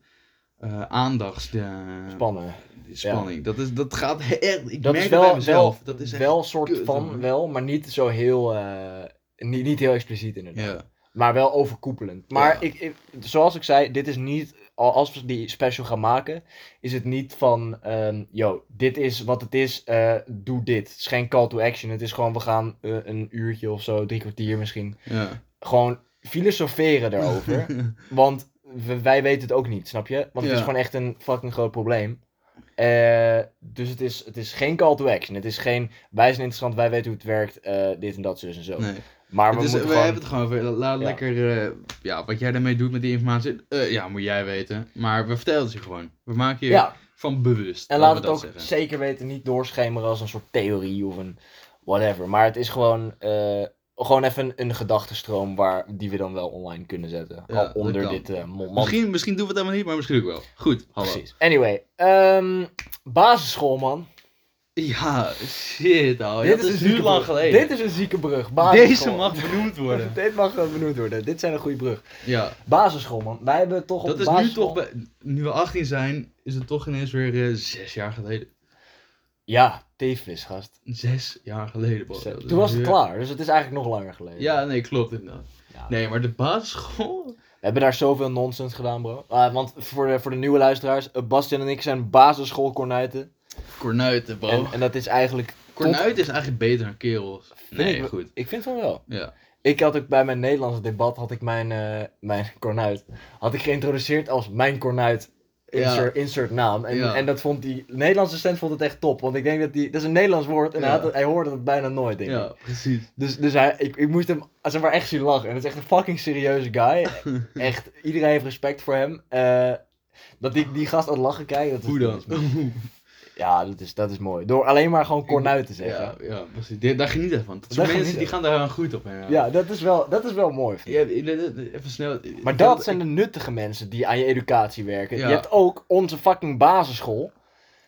Eh aandachts... eh, Spannen. spanning. Dat, is, dat gaat echt... Ik Dat merk is het bij wel, mezelf. wel, dat is echt... wel soort kut, van, hoor. wel, maar niet zo heel, eh, niet, niet heel expliciet inderdaad. Ja, Maar wel overkoepelend. Maar Ja. ik, ik, zoals ik zei, dit is niet, al- als we die special gaan maken, is het niet van, ehm yo, dit is wat het is, eh, doe dit. Het is geen call to action, het is gewoon, we gaan eh, een uurtje of zo, drie kwartier misschien, ja. gewoon filosoferen daarover. [laughs] Want we- wij weten het ook niet, snap je? Want het Ja. is gewoon echt een fucking groot probleem. Eh, dus het is, het is geen call to action. Het is geen, wij zijn interessant, wij weten hoe het werkt, eh, dit en dat, zus en zo. nee. Maar we Het is- we moeten gewoon... hebben het gewoon over. Laat Ja. lekker. eh, ja, wat jij daarmee doet met die informatie. eh, ja, moet jij weten. Maar we vertellen het je gewoon. We maken je Ja, van bewust. en laat laten het we ook dat zeggen. zeker weten niet doorschemeren als een soort theorie of een whatever. Maar het is gewoon, eh, gewoon even een, een gedachtenstroom waar, die we dan wel online kunnen zetten. Ja, al dat onder kan. dit eh moment. Misschien, misschien doen we het helemaal niet, maar misschien ook wel. Goed, hallo. Precies. Anyway, ehm, basisschool man. Ja, shit, al. Dit Oh, is, nu zieke lang brug. geleden. Dit is een zieke brug. Deze basisschool. mag benoemd [laughs] worden. Dit mag eh, benoemd worden. Dit zijn een goede brug. Ja, Basisschool, man. Wij hebben toch op dat de is nu basisschool... toch. bij- nu we 18 zijn, is het toch ineens weer eh, zes jaar geleden. Ja, teefvis, gast. Zes jaar geleden, boy. Dat is Toen was het weer- klaar, dus het is eigenlijk nog langer geleden. Ja, nee, klopt inderdaad. Ja. Nee, maar de basisschool. We hebben daar zoveel nonsens gedaan, bro. Ah, want voor de, voor de nieuwe luisteraars, eh, Bastian en ik zijn basisschoolkornuiten. Kornuiten, bro. En, en dat is eigenlijk... Kornuit is eigenlijk beter dan kerels. Nee, ik, goed. Ik vind van wel. Ja. Ik had ook bij mijn Nederlandse debat, had ik mijn, eh, mijn kornuit, had ik geïntroduceerd als mijn kornuit. Insert, insert naam. En, Ja. en dat vond die Nederlandse cent vond het echt top. Want ik denk dat die. Dat is een Nederlands woord. En Ja. hij, had het- hij hoorde het bijna nooit, denk ik. ja, precies. Dus, dus hij, ik, ik moest hem zeg maar, echt zien lachen. En het is echt een fucking serieuze [laughs] guy. Echt, iedereen heeft respect voor hem. Eh, dat ik die gast aan het lachen kijk. Dat is, Hoe dan? dat is- ja, dat is, dat is mooi. Door alleen maar gewoon kornuit te zeggen. [laughs] ja, Ja, ja, precies. Dit- Daar geniet ik van. Dat Daar zijn mensen geniet die ik. gaan daar aan goed op. Ja. dat, is wel, dat is wel mooi. vind ik. Ja, even snel. Maar dat zijn de nuttige mensen die aan je educatie werken. Ja. Je hebt ook onze fucking basisschool.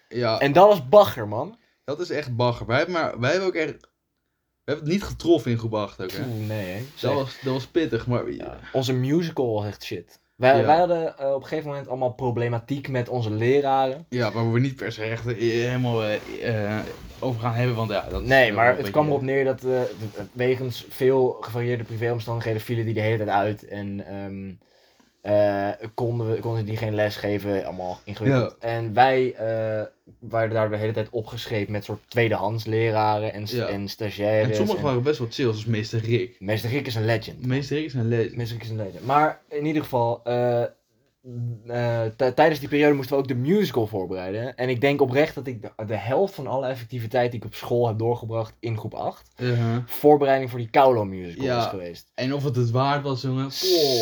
Ja, En dat is bagger, man. dat is echt bagger. Wij hebben, maar, wij hebben ook echt... We hebben het niet getroffen in groep 8 ook, hè. Oeh, nee, hè. Dat Zeg. was, dat was pittig, maar... Ja. Ja. Onze musical was echt shit. Wij, Ja. wij hadden eh, op een gegeven moment allemaal problematiek met onze leraren. waar we niet per se echt eh, helemaal eh, eh, over gaan hebben, want ja... Dat is Nee, wel maar een het beetje- kwam erop neer dat eh, wegens veel gevarieerde privéomstandigheden vielen die de hele tijd uit. En ehm, eh, konden, we, konden die geen les geven, allemaal ingewikkeld. En wij eh, waren daar de hele tijd opgeschreven met soort tweedehands leraren en, st- Ja. en stagiaires. En en- sommigen waren best wel chill, zoals meester Rick. Meester Rick is een legend. Meester Rick is een legend. Meester Rick is een legend. Maar in ieder geval, eh, eh, t- tijdens die periode moesten we ook de musical voorbereiden. En ik denk oprecht dat ik de, de helft van alle effectiviteit die ik op school heb doorgebracht in groep 8, Uh-huh. voorbereiding voor die Kowlow musical Ja. Oh. is geweest. En of het het waard was, jongen.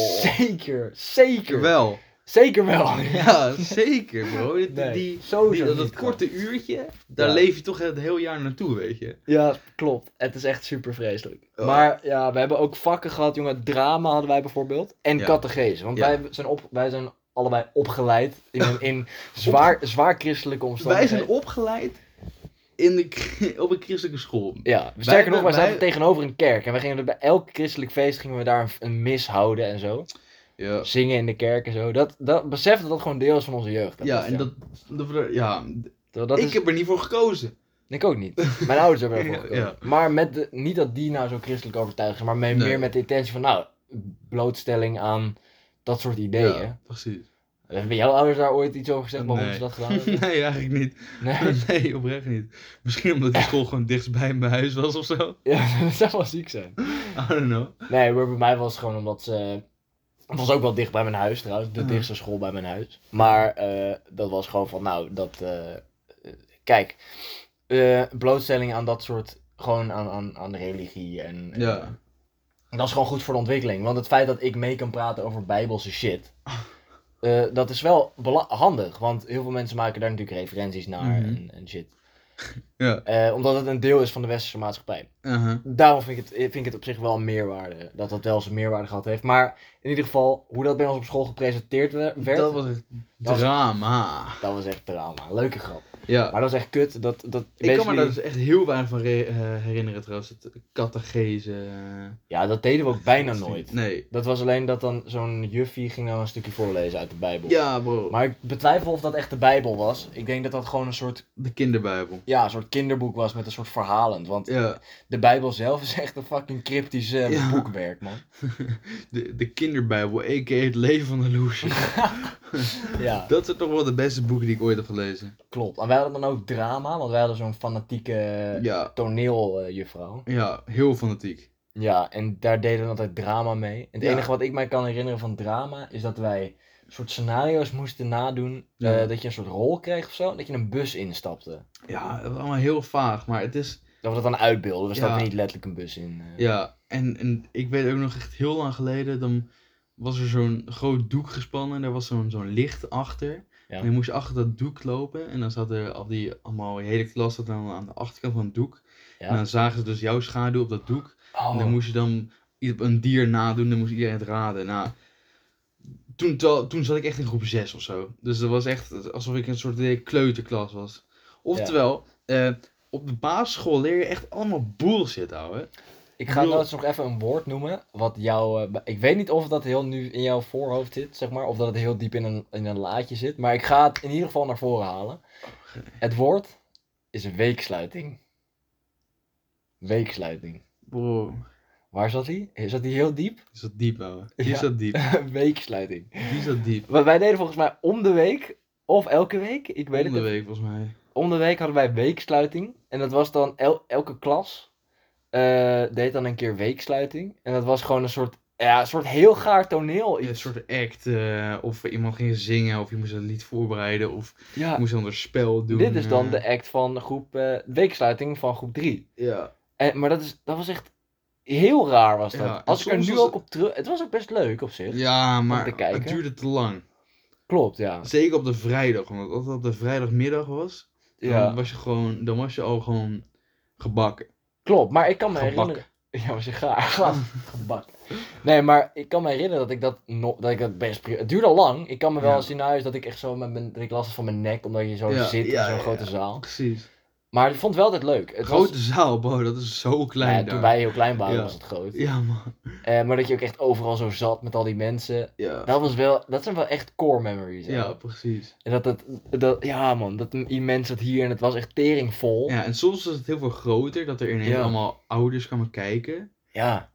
Zeker, zeker. wel. Zeker wel. Ja, zeker, bro. Die, Nee, die, sowieso die- dat niet, dat korte uurtje, daar Ja. leef je toch het heel jaar naartoe, weet je. [laughs] Ja, klopt. Het is echt super vreselijk. Ja. Maar ja, we hebben ook vakken gehad, jongen. Drama hadden wij bijvoorbeeld. En Ja. catechese. Want Ja. wij, zijn op, wij zijn allebei opgeleid in, een- [laughs] in zwaar, zwaar christelijke Wij omstandigheden. zijn opgeleid in de, kri- op een christelijke school. Ja, sterker nog, wij hebben- zaten wij- tegenover een kerk. En wij gingen er bij elk christelijk feest gingen we daar een, een mis houden en zo. Ja, Zingen in de kerk en zo. Dat, dat besef dat dat gewoon deel is van onze jeugd. ja en dat... dat we er- ja, dat, dat ik is, heb er niet voor gekozen. ik ook niet. Mijn ouders hebben ervoor [laughs] Ja, gekozen. ja. Maar met de, niet dat die nou zo christelijk overtuigd zijn, maar mee- Nee. meer met de intentie van, nou, blootstelling aan dat soort ideeën. Ja, precies. [laughs] Hebben jouw ouders daar ooit iets over gezegd waarom Nee. ze dat gedaan [laughs] hebben? nee, eigenlijk niet. Nee. [laughs] Nee, oprecht niet. Misschien omdat die school gewoon dichtstbij mijn huis was of zo. Ja, dat zou wel ziek zijn. I don't know. Nee, maar bij mij was het gewoon omdat ze. Het was ook wel dicht bij mijn huis trouwens, de Ah. dichtste school bij mijn huis. Maar eh, dat was gewoon van, nou, dat. eh, eh, kijk, eh, blootstelling aan dat soort. Gewoon aan, aan, aan religie en. Ja. en dat is gewoon goed voor de ontwikkeling. Want het feit dat ik mee kan praten over bijbelse [laughs] shit. eh, dat is wel bela- handig, want heel veel mensen maken daar natuurlijk referenties naar Mhm. en, en shit. [laughs] Ja. Eh, omdat het een deel is van de westerse maatschappij Uh-huh. daarom vind ik, het, eh, vind ik het op zich wel een meerwaarde. Dat dat wel zijn meerwaarde gehad heeft. Maar in ieder geval, hoe dat bij ons op school gepresenteerd we- werd, dat Dat was, was echt Dat- drama. echt drama. Leuke grap. Ja. Maar dat was echt kut. Dat, dat, Ik kan me basically- daar dus echt heel weinig van re- eh, herinneren trouwens. Het catechese. eh, Ja, dat deden we ook bijna dat is nooit. Nee. Dat was alleen dat dan zo'n juffie ging dan een stukje voorlezen uit de Bijbel. Ja, bro. Maar ik betwijfel of dat echt de Bijbel was. Ik denk dat dat gewoon een soort, De kinderbijbel. ja, een soort kinderboek was met een soort verhalend. Want Ja. de Bijbel zelf is echt een fucking cryptisch eh, Ja. boekwerk, man. De, de kinderbijbel, a.k.a. het leven van de [laughs] loesje. Ja, dat zijn toch wel de beste boeken die ik ooit heb gelezen. klopt. En wij hadden dan ook drama, want wij hadden zo'n fanatieke Ja. toneeljuffrouw. Ja, heel fanatiek. ja, en daar deden we altijd drama mee. En het Ja. enige wat ik mij kan herinneren van drama is dat wij een soort scenario's moesten nadoen. Ja. eh, dat je een soort rol kreeg of zo, en dat je een bus instapte. Ja, het was allemaal heel vaag, maar het is... Dat we dat dan uitbeelden, we Ja. stapten niet letterlijk een bus in. eh. Ja, en, en ik weet ook nog echt heel lang geleden, dan was er zo'n groot doek gespannen en daar was zo'n zo'n licht achter. Ja. En je moest achter dat doek lopen en dan zat er al die, allemaal, de hele klas zat dan aan de achterkant van het doek. Ja. En dan zagen ze dus jouw schaduw op dat doek. En Oh, Nou, dan moest je dan i- een dier nadoen, dan moest iedereen het raden. Nou, toen, to- toen zat ik echt in groep 6 of zo. Dus dat was echt alsof ik een soort eh, kleuterklas was. Oftewel, eh, op de basisschool leer je echt allemaal bullshit, ouwe. Ik ga bedoel- trouwens nog even een woord noemen. Wat jou, eh, be- ik weet niet of dat heel nu in jouw voorhoofd zit, zeg maar. Of dat het heel diep in een, in een laadje zit. Maar ik ga het in ieder geval naar voren halen. Het woord is een weeksluiting. Weeksluiting. Bro, Waar zat die? Zat die heel diep? [laughs] is dat diep, ouwe. Die Ja. is dat diep. weeksluiting. Die is dat diep. Want wij deden volgens mij om de week, of elke week, ik [laughs] weet Om het de niet. week, volgens mij. Om de week hadden wij weeksluiting. En dat was dan el- elke klas eh, deed dan een keer weeksluiting. En dat was gewoon een soort, ja, een soort heel gaar toneel. Een Iets. soort act, eh, of iemand ging zingen, of je moest een lied voorbereiden, of je Ja, moest een ander spel doen. Ah. dit is dan eh. de act van groep, eh, weeksluiting van groep 3. Ja. En, maar dat, is, dat was echt heel raar was dat. Ja, en Als ik er soms nu was ook het- op terug... Het was ook best leuk op zich. Ja, te maar het kijken. duurde te lang. Klopt, ja. Zeker op de vrijdag, omdat als het op de vrijdagmiddag was, dan, ja. was, je gewoon, dan was je al gewoon gebakken. Klopt, maar ik kan me Gebakken. herinneren. [laughs] Ja, was je gaar. Gebakken. Nee, maar ik kan me herinneren dat ik dat, no dat, ik dat best. pri- Het duurde al lang. Ik kan me wel Ja. zien naar huis dat ik echt zo met mijn. Dat ik last had van mijn nek, omdat je zo Ja, zit ja, in zo'n ja, grote ja. zaal. Precies. Maar ik vond het wel altijd leuk. Het Grote was, zaal, bro, dat is zo nou klein ja, toen daar. wij heel klein waren, Ja. was het groot. Ja, man. Eh, maar dat je ook echt overal zo zat met al die mensen. Ja, Dat, was wel, dat zijn wel echt core memories. hè. ja precies. En dat, dat, dat, ja man, dat immens dat hier en het was echt teringvol. Ja. Ja, en soms was het heel veel groter, dat er ineens Ja. allemaal ouders kwamen kijken.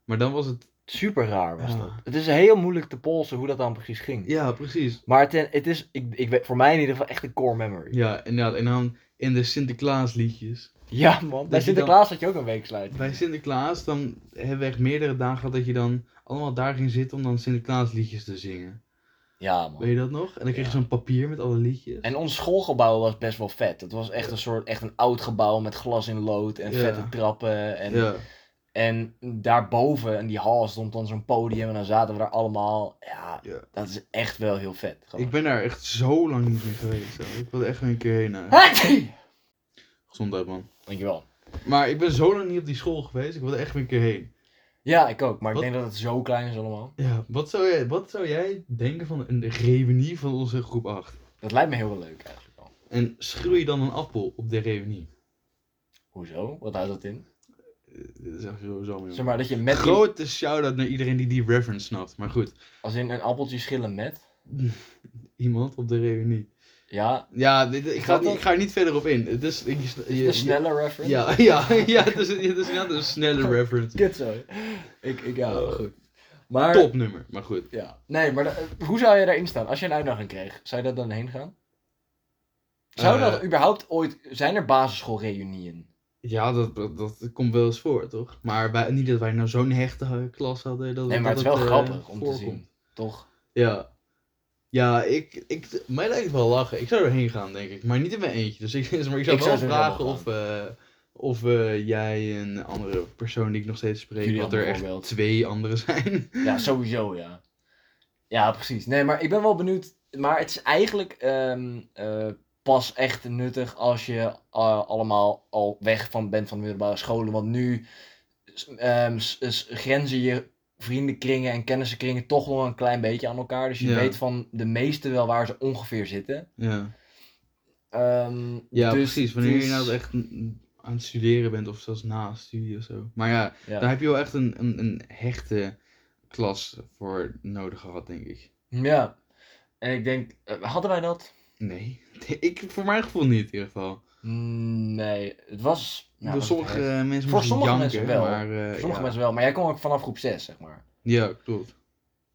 Maar dan was het... super raar was Ja. dat. Het is heel moeilijk te polsen hoe dat dan precies ging. Ja, precies. Maar het, het is, ik, ik weet, voor mij in ieder geval echt een core memory. Ja, inderdaad. En dan in de Sinterklaasliedjes. Ja, man. Bij je Sinterklaas had je ook een weeksluiting. Bij Sinterklaas, dan hebben we echt meerdere dagen gehad dat je dan allemaal daar ging zitten om dan Sinterklaasliedjes te zingen. Ja, man. Weet je dat nog? En dan kreeg Ja. je zo'n papier met alle liedjes. En ons schoolgebouw was best wel vet. Het was echt een soort echt een oud gebouw met glas in lood en Ja. vette trappen. En, ja. en daarboven in die hal stond dan zo'n podium en dan zaten we daar allemaal. Ja, Ja. dat is echt wel heel vet. gewoon. Ik ben daar echt zo lang niet meer geweest. Hoor. Ik wil er echt weer een keer heen. eh. Hey! Gezondheid, man. Dankjewel. Maar ik ben zo lang niet op die school geweest. Ik wil er echt weer een keer heen. Ja, ik ook. Maar Wat? ik denk dat het zo klein is allemaal. Ja, wat zou jij, wat zou jij denken van een reunie van onze groep 8? Dat lijkt me heel leuk eigenlijk wel. En schreeuw je dan een appel op de reunie? Hoezo? Wat houdt dat in? Eh, Dit is echt zo zo Zeg maar dat je met... Grote shout-out naar iedereen die die reference snapt. Maar goed, Als in een appeltje schillen met. iemand op de reunie. Ja, Ja, dit, ik, Wat ga, het niet- dan? ik ga er niet verder op in. Het is, ik, je, de snelle reference. ja, [laughs] ja, ja, het is, het is inderdaad een snelle reference. Kut zo. Ik, ik ja, Oh. goed. Maar... Topnummer, maar goed. Ja. Nee, maar da- hoe zou je daarin staan? Als je een uitdaging kreeg, zou je daar dan heen gaan? Zou Eh, dat überhaupt ooit... Zijn er basisschoolreunieën? Ja, dat, dat, dat komt wel eens voor, toch? Maar wij, niet dat wij nou zo'n hechte eh, klas hadden. Dat, Nee, maar het dat is wel eh, grappig om te voorkomt. zien. Toch? Ja. Ja, ik, ik, mij lijkt het wel lachen. Ik zou erheen gaan, denk ik. Maar niet in mijn eentje. Dus ik, [laughs] maar ik zou Ik zou wel sowieso vragen wel of, eh, of eh, jij en andere persoon die ik nog steeds spreek, Julian dat er echt bijvoorbeeld. twee anderen [laughs] zijn. Ja, sowieso, ja. Ja, precies. Nee, maar ik ben wel benieuwd. Maar het is eigenlijk ehm, eh, pas echt nuttig als je eh, allemaal al weg van bent van de middelbare scholen. Want nu s- ehm, s- s- grenzen je vriendenkringen en kennissenkringen toch wel een klein beetje aan elkaar. Dus je Ja. weet van de meeste wel waar ze ongeveer zitten. Ja, Ehm, ja dus precies. Wanneer het je is- nou echt n- aan het studeren bent of zelfs na studie of zo. Maar ja, Ja. daar heb je wel echt een, een, een hechte klas voor nodig gehad, denk ik. Ja. En ik denk, eh, hadden wij dat? Nee, [laughs] ik, voor mijn gevoel niet in ieder geval. Mm, Nee, het was... nou, Voor was sommige het- mensen moesten Voor sommige janken, mensen wel. Maar, eh, Voor sommige ja. mensen wel, maar jij kwam ook vanaf groep 6, zeg maar. Ja, klopt.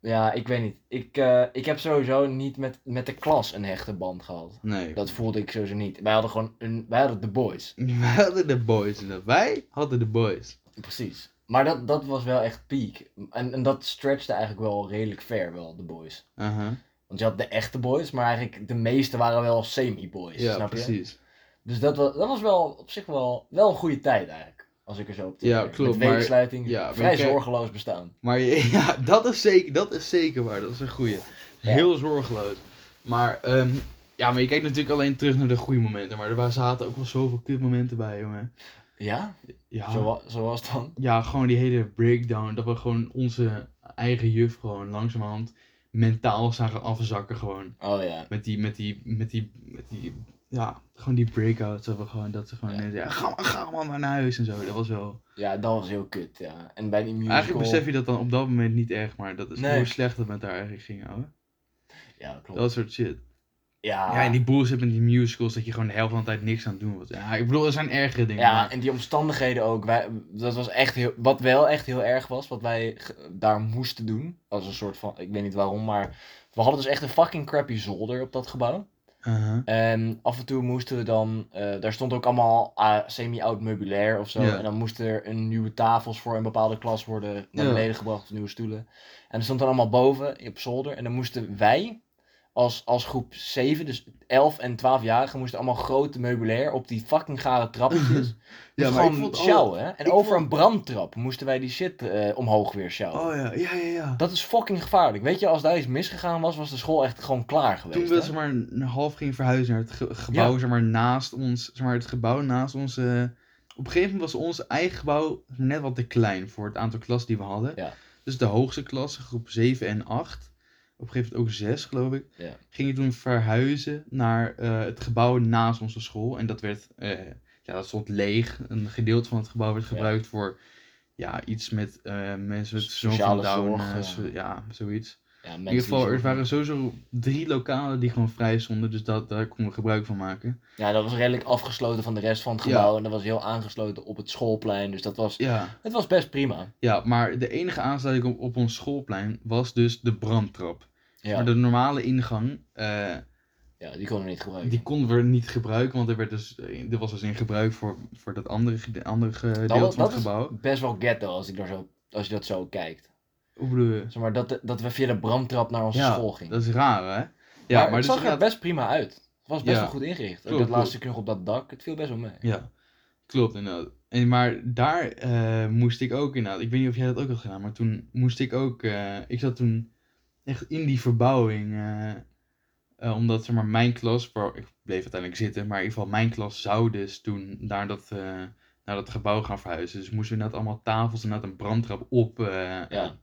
Ja, ik weet niet. Ik, eh, ik heb sowieso niet met, met de klas een hechte band gehad. Nee. [laughs] Dat voelde ik sowieso niet. Wij hadden gewoon een, wij hadden de boys. Wij hadden de boys. inderdaad. Wij hadden de boys. Precies. Maar dat, dat was wel echt peak. En, en dat stretchte eigenlijk wel redelijk ver, wel, de boys. Aha. Want je had de echte boys, maar eigenlijk de meeste waren wel semi-boys, Ja, snap je? precies. Dus dat was, dat was wel op zich wel, wel een goede tijd eigenlijk. Als ik er zo op Ja, terugkijk. klopt, Met maar- weeksluiting, ja, maar vrij kijk- zorgeloos bestaan. Maar je- [laughs] ja, dat is zeker, dat is zeker waar. Dat is een goeie. Heel zorgeloos. Maar, ehm, ja, maar je kijkt natuurlijk alleen terug naar de goede momenten. Maar er wa- zaten ook wel zoveel kutmomenten bij, jongen. Ja, Ja, zoals, zoals dan. ja, gewoon die hele breakdown. Dat we gewoon onze eigen juf gewoon langzamerhand mentaal zagen afzakken gewoon. Oh ja. Met die, met die, met die, met die, ja, gewoon die breakouts. Dat, we gewoon, dat ze gewoon Ja. ja. ja, ga, maar- ga maar maar naar huis en zo. Dat was wel... Ja, dat was heel kut, ja. En bij die musical... Eigenlijk besef je dat dan op dat moment niet echt, maar dat is Nee. hoe slecht dat met daar eigenlijk ging, ouwe. Ja, klopt. Ah. Dat soort shit. Ja, Ja, en die bullshit met die musicals, dat je gewoon de helft van de tijd niks aan het doen was. Ja, ik bedoel, er zijn ergere dingen. ja, maar- en die omstandigheden ook. Wij, dat was echt heel, wat wel echt heel erg was, wat wij ge- daar moesten doen. Als een soort van, ik weet niet waarom, maar we hadden dus echt een fucking crappy zolder op dat gebouw. Aha. En af en toe moesten we dan, eh, daar stond ook allemaal ah, semi-oud meubilair of zo. Ja. En dan moesten er een nieuwe tafels voor een bepaalde klas worden naar Ja. beneden gebracht, of nieuwe stoelen. En dat stond dan allemaal boven op zolder. En dan moesten wij, als, als groep 7, dus 11 en 12-jarigen, moesten allemaal grote meubilair op die fucking gare trappetjes. [laughs] Ja, ja, maar ik gewoon vond al- sjouwen. hè. En ik over vond- een brandtrap moesten wij die shit eh, omhoog weer sjouwen. Oh ja, ja, ja, ja. Dat is fucking gevaarlijk. Weet je, als daar iets misgegaan was, was de school echt gewoon klaar geweest. Toen we hè? zeg maar een half gingen verhuizen naar het ge- gebouw, zeg maar naast ons, zeg maar het gebouw naast ons. eh, op een gegeven moment was ons eigen gebouw net wat te klein voor het aantal klassen die we hadden. Ja. Dus de hoogste klasse, groep 7 en 8, op een gegeven moment ook 6 geloof ik, Ja. gingen toen verhuizen naar eh, het gebouw naast onze school. En dat werd, eh, ja dat stond leeg. Een gedeelte van het gebouw werd Ja. gebruikt voor ja, iets met eh, mensen met S- syndroom van sociale Down, zorg, eh, ja. zo- ja, zoiets. Ja, In ieder geval, er mensen die zo- waren sowieso drie lokalen die gewoon vrij stonden, dus dat, daar konden we gebruik van maken. Ja, dat was redelijk afgesloten van de rest van het Ja. gebouw. En dat was heel aangesloten op het schoolplein. Dus dat was, Ja, het was best prima. ja maar de enige aansluiting op, op ons schoolplein was dus de brandtrap. Ja, Maar de normale ingang, eh, ja die konden we niet gebruiken. die konden we niet gebruiken, want er, werd dus, er was dus in gebruik voor, voor dat andere, gede- andere gedeelte Nou, dat, van dat het is gebouw. best wel ghetto als, ik daar zo, als je dat zo kijkt. Hoe bedoel je? Zeg maar, dat, dat we via de bramtrap naar onze Ja, school gingen. Dat is raar, hè? Ja, maar, het dus zag er inderdaad- best prima uit. Het was best Ja. wel goed ingericht. Ook Klopt, dat klopt. laatste stuk nog op dat dak, het viel best wel mee. Ja, klopt inderdaad. En, maar daar eh, moest ik ook inderdaad, ik weet niet of jij dat ook had gedaan, maar toen moest ik ook, eh, ik zat toen echt in die verbouwing, eh, eh, omdat zeg maar mijn klas, waar ik bleef uiteindelijk zitten, maar in ieder geval mijn klas zou dus toen naar dat, eh, naar dat gebouw gaan verhuizen. Dus moesten we inderdaad allemaal tafels en inderdaad een brandtrap op eh eh, Ja.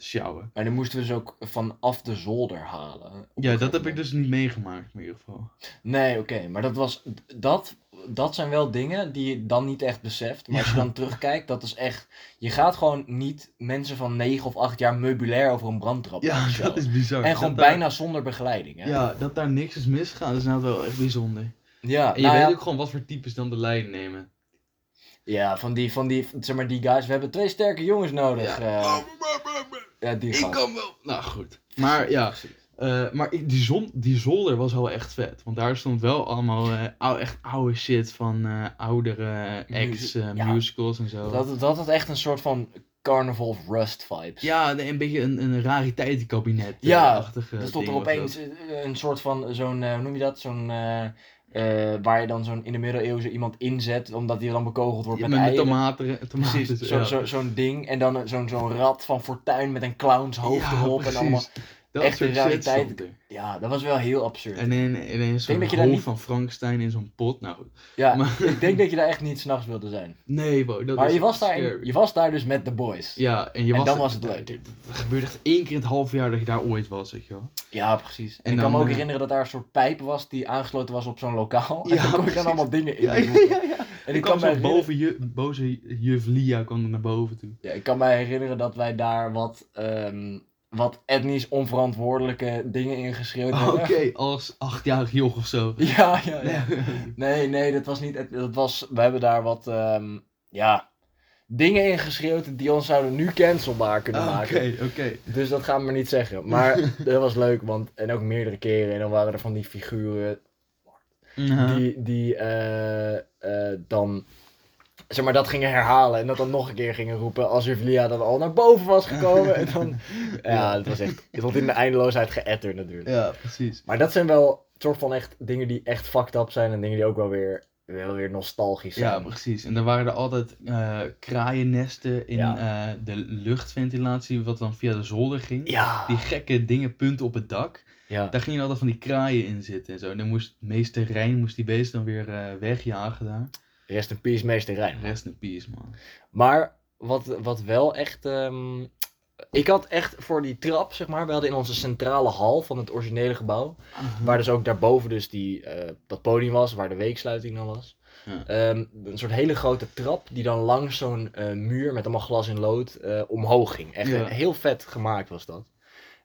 sjouwen. Maar dan moesten we ze ook vanaf de zolder halen. Op een Ja, dat gegeven heb ik moment. dus niet meegemaakt in ieder geval. Nee, oké. maar dat, was, dat, dat zijn wel dingen die je dan niet echt beseft. Maar als [laughs] je Ja. dan terugkijkt, dat is echt... Je gaat gewoon niet mensen van 9 of 8 jaar meubilair over een brandtrap [laughs] Ja, laten dat sjouwen. is bizar. En gewoon Dat daar- bijna zonder begeleiding. Hè? Ja, dat daar niks is misgaan is inderdaad wel echt bijzonder. Ja, En je nou ja, weet ook gewoon wat voor types dan de lijn nemen. ja, van die, van die, zeg maar, die guys. We hebben twee sterke jongens nodig. Ja, eh, ja die ik gast. kan wel. Nou goed. Maar ja, eh, maar ik- die, zon, die zolder was wel echt vet. Want daar stond wel allemaal eh, ou- echt oude shit van eh, oudere eh, Muzie- ja. ex-musicals en zo. Dat, dat had echt een soort van Carnival of Rust vibes. Ja, nee, een beetje een, een rariteitenkabinet. eh, Ja, achtige Er stond er ding was opeens eh, een soort van, zo'n, eh, hoe noem je dat? Zo'n, eh, eh, waar je dan zo'n in de middeleeuwen zo iemand inzet, omdat hij dan bekogeld dat. wordt Ja, met, met, met eieren. tomaten. tomaten [laughs] Precies, zo- ja. zo- zo'n ding. En dan een- zo'n zo'n rat van fortuin met een clownshoofd Ja, erop. En precies. allemaal... Dat echte soort shit rariteit- stond er. Ja, dat was wel heel absurd. En in, ineens Denk zo'n dat je hoofd daar niet- van Frankenstein in zo'n pot. Nou, goed. ja, maar- ik denk dat je daar echt niet s'nachts wilde zijn. nee bro, dat Maar is je was, daar, scary. je was daar dus met de boys. Ja, Ja, en, je En was dan was het leuk. Het gebeurde echt één keer in het half jaar dat je daar ooit was, weet je wel. precies. En, En ik kan dan, me ook eh, herinneren dat daar een soort pijp was die aangesloten was op zo'n lokaal. [laughs] en Ja, dan kon ik precies. dan allemaal dingen in. Ja, ja, doen. ja. ja. En Ik ik kwam kan, me zo herinneren, boven je, boze juf Lia kwam er naar boven toe. ja, ik kan me herinneren dat wij daar wat, ehm, wat etnisch onverantwoordelijke dingen in geschreeuwd Oh, [laughs] Oké, hebben. als achtjarig joch of zo. [laughs] Ja, ja, [laughs] ja. Nee. Nee, nee, dat was niet. Dat was, we hebben daar wat ehm, ja, dingen in geschreeuwd die ons zouden nu cancelbaar kunnen maken. Ah, Oké, oké. Dus dat gaan we maar niet zeggen. [laughs] Maar dat was leuk, want. En ook meerdere keren. En dan waren er van die figuren Ja. die, die eh, eh, dan. Zeg maar, dat gingen herhalen en dat dan nog een keer gingen roepen alsof Lia dan al naar boven was gekomen. En [laughs] dan, ja, het was echt. Het wordt in de eindeloosheid geëtterd natuurlijk. Ja, precies. Maar dat zijn wel soort van echt dingen die echt fucked up zijn en dingen die ook wel weer, wel weer nostalgisch Ja, zijn. precies. En er waren er altijd eh, kraaiennesten in eh, de luchtventilatie, wat dan via de zolder ging. Ja, Die gekke dingen, punten op het dak. ja. Daar gingen altijd van die kraaien in zitten en zo. En dan moest meester Rijn moest die beest dan weer eh, wegjagen daar. Rest in peace, meester Rijn. Rest in peace, man. Maar wat, wat wel echt... ehm, ik had echt voor die trap, zeg maar, we hadden in onze centrale hal van het originele gebouw, Hm. waar dus ook daarboven dus die, eh, dat podium was, waar de weeksluiting dan was. Ja. Ehm, een soort hele grote trap die dan langs zo'n eh, muur met allemaal glas in lood eh, omhoog ging. Echt Ja. eh, heel vet gemaakt was dat.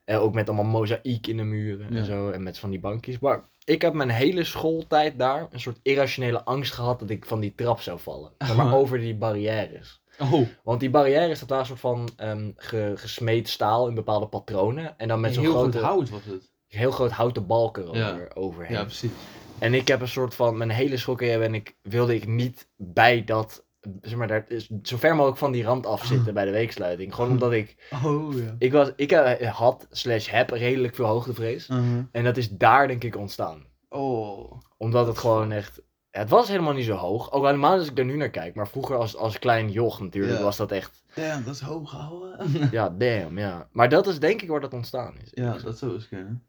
Eh, ook met allemaal mozaïek in de muren Ja. en zo en met van die bankjes. Maar ik heb mijn hele schooltijd daar een soort irrationele angst gehad dat ik van die trap zou [laughs] vallen. Zeg Maar over die barrières. Oh, Want die barrières dat daar een soort van ehm, ge- gesmeed staal in bepaalde patronen. En dan met zo'n heel groot grote, hout was het. heel groot houten balken Ja. over, overheen. Ja, precies. En ik heb een soort van, mijn hele schoolcarrière en ik wilde ik niet bij dat, zeg maar, daar, is- zo ver mogelijk van die rand afzitten bij de weeksluiting. Gewoon omdat ik, Oh, ja. ik was, ik eh, had slash heb redelijk veel hoogtevrees. En dat is daar denk ik ontstaan. Oh. Omdat het gewoon echt, het was helemaal niet zo hoog. Ook helemaal als ik er nu naar kijk, maar vroeger als, als klein joch natuurlijk Ja. was dat echt, Damn, dat is hoog gehouden. ja damn, ja. Maar dat is denk ik waar dat ontstaan is. [laughs] ja, dat zou eens kunnen.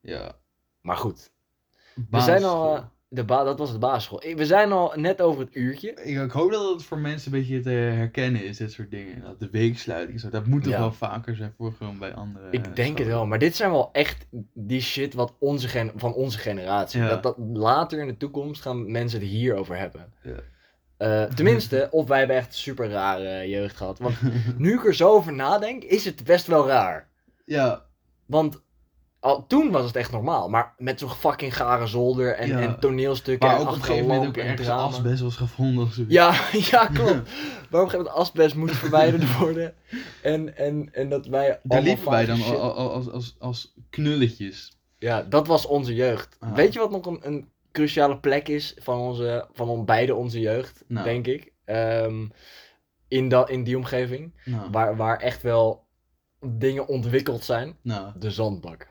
Ja. Maar goed, zijn al, eh, de ba- dat was het basisschool. Ik- We zijn al net over het uurtje. Ik, ik hoop dat het voor mensen een beetje te herkennen is, dit soort dingen. Dat de weeksluiting, zo. dat moet toch Ja. wel vaker zijn voor gewoon bij andere. Ik denk het scholen. wel, maar dit zijn wel echt die shit wat onze gen- van onze generatie. Ja. Dat, dat later in de toekomst gaan mensen het hierover hebben. Ja. Eh, [laughs] tenminste, of wij hebben echt super rare jeugd gehad. Want nu ik er zo over nadenk, is het best wel raar. ja, Want al, toen was het echt normaal, maar met zo'n fucking gare zolder en, Ja. en toneelstukken maar en ook op een achterlampen gegeven moment ook en ergens drama. asbest was gevonden of zo. Ja, [laughs] [laughs] ja, klopt. Maar op een gegeven moment asbest moest verwijderd worden. En, en, en dat wij Daar allemaal liepen wij vage dan shit- al- al- als, als, als knulletjes. Ja, dat was onze jeugd. Ah. Weet je wat nog een, een cruciale plek is van, onze, van on, beide onze jeugd, Nou. denk ik? Ehm, in, dat in die omgeving. Nou, Waar, waar echt wel dingen ontwikkeld zijn? Nou, De zandbak.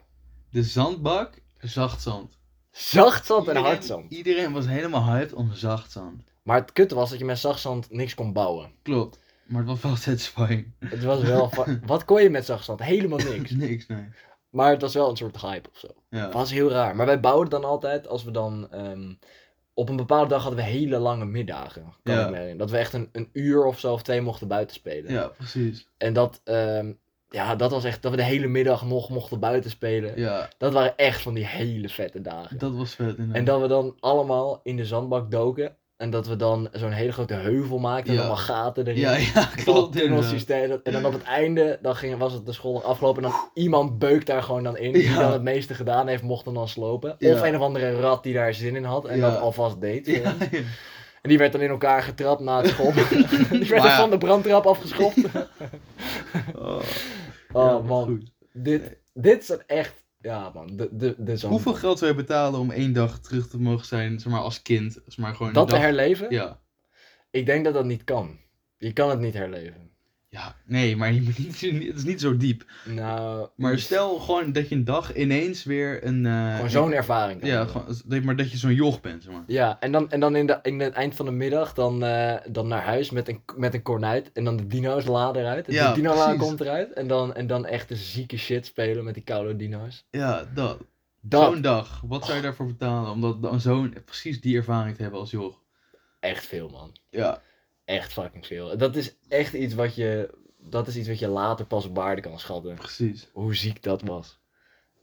de zandbak, zacht zand. Zacht zand en Iedereen- hard zand. Iedereen was helemaal hyped om zacht zand. Maar het kutte was dat je met zacht zand niks kon bouwen. Klopt. Maar het was wel [laughs] satisfying. Het was [laughs] wel... fa- Wat kon je met zacht zand? Helemaal niks. Niks, nee. Maar het was wel een soort hype of zo. Het Ja. was heel raar. Maar wij bouwden dan altijd, als we dan... ehm, op een bepaalde dag hadden we hele lange middagen. Kan Ja. ik me herinneren. Dat we echt een, een uur of zo of twee mochten buiten spelen. ja, precies. En dat, ehm, ja, dat was echt dat we de hele middag nog mochten buiten spelen. Ja, Dat waren echt van die hele vette dagen. dat was vet. inderdaad. En dat we dan allemaal in de zandbak doken. En dat we dan zo'n hele grote heuvel maakten. Ja. En allemaal gaten erin. Ja, ja, klopt. inderdaad. Tunnelsysteem. Dat- En dan op het einde dan ging, was het de school afgelopen. En dan iemand beukt daar gewoon dan in. Die Ja. dan het meeste gedaan heeft, mocht hem dan slopen. Ja. Of een of andere rat die daar zin in had. En Ja. dat alvast deed. Ja, ja. En die werd dan in elkaar getrapt na het [laughs] school. die werd Maar er ja. van de brandtrap afgeschopt. Oh, ja, Oh maar man, goed. dit, dit zijn echt... Ja man, de, de, de zand. Hoeveel geld wij betalen om één dag terug te mogen zijn, zeg maar als kind. Zeg maar gewoon een Dat te dag- herleven? Ja. Ik denk dat dat niet kan. Je kan het niet herleven. Ja, nee, maar je moet niet, het is niet zo diep. Nou, Maar niet. stel gewoon dat je een dag ineens weer een... eh, Gewoon zo'n ervaring. kan Ja, hebben. gewoon, dat- maar dat je zo'n joch bent, zeg maar. Ja, en dan, en dan in, de, in het eind van de middag dan, eh, dan naar huis met een, met een kornuit. En dan de dino's laden eruit. En Ja, de dino la precies. komt eruit. En dan, en dan echt de zieke shit spelen met die koude dino's. Ja, dat. Dat, Zo'n dag. Wat zou je daarvoor betalen om dat, dan zo'n, precies die ervaring te hebben als joch? echt veel man. Ja. Echt fucking veel. Dat is echt iets wat je, dat is iets wat je later pas op waarde kan schatten. Precies. Hoe ziek dat was.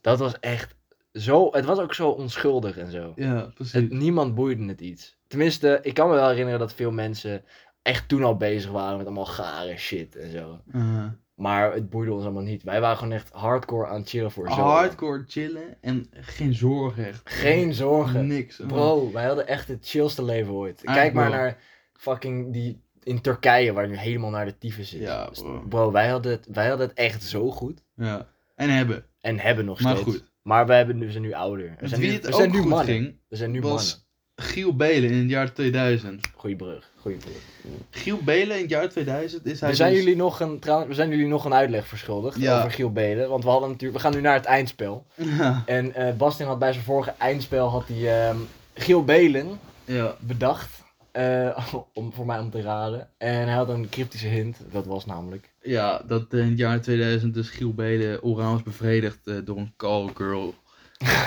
Dat was echt zo, het was ook zo onschuldig en zo. Ja, precies. Het, niemand boeide het iets. Tenminste, ik kan me wel herinneren dat veel mensen echt toen al bezig waren met allemaal gare shit en zo. Eh, Maar het boeide ons allemaal niet. Wij waren gewoon echt hardcore aan het chillen voor zo. hardcore chillen en geen zorgen echt. Geen zorgen. Niks. Bro, wij hadden echt het chillste leven ooit. Kijk Eigenlijk maar wel. naar fucking die in Turkije waar nu helemaal naar de tyfus is. Ja, bro. Bro, wij hadden, het, wij hadden het echt zo goed. Ja. En hebben. En hebben nog Maar steeds. goed. Maar we, hebben, nu- we zijn nu ouder. We Met zijn wie nu, het we ook zijn nu goed mannen. ging, We zijn nu was Giel Belen in het jaar 2000. mannen. Goeie brug. Goeie brug. Giel Belen in het jaar 2000 is hij We zijn, dus- jullie nog een, trouwens, we zijn jullie nog een uitleg verschuldigd Ja. over Giel Belen. Want we, hadden natuurlijk, we gaan nu naar het eindspel. [laughs] Ja. En eh Bastian had bij zijn vorige eindspel had hij, ehm, Giel Belen ja. bedacht. eh, [laughs] om, voor mij om te raden. En hij had een cryptische hint. Dat was namelijk. Ja, dat in het jaar 2000 dus Giel Belen oraal was bevredigd eh, door een [laughs] callgirl.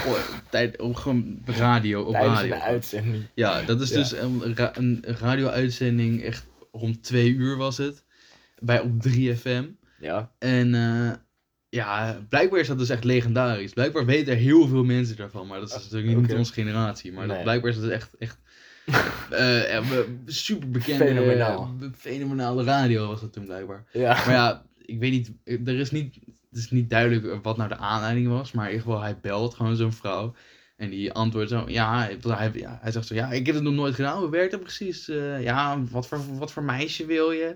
Oh, tijd, op, gewoon radio, op tijdens radio. de uitzending. Ja, dat is Ja. dus een, ra- een radio-uitzending, echt rond twee uur was het. Bij op 3FM. Ja. En eh, ja, blijkbaar is dat dus echt legendarisch. Blijkbaar weten er heel veel mensen daarvan, maar dat is natuurlijk niet Oké. onze generatie. Maar Nee. dat, blijkbaar is dat [laughs] echt, echt eh, eh, we- super bekende, Fenomenaal. fenomenale radio was dat toen blijkbaar. Ja. Maar ja, ik weet niet, er is niet, het is niet duidelijk wat nou de aanleiding was, maar in ieder geval hij belt gewoon zo'n vrouw. En die antwoordt zo, ja hij, hij- ja, hij zegt zo, ja, ik heb het nog nooit gedaan, hoe werkt dat precies? Eh, ja, wat voor, wat voor meisje wil je?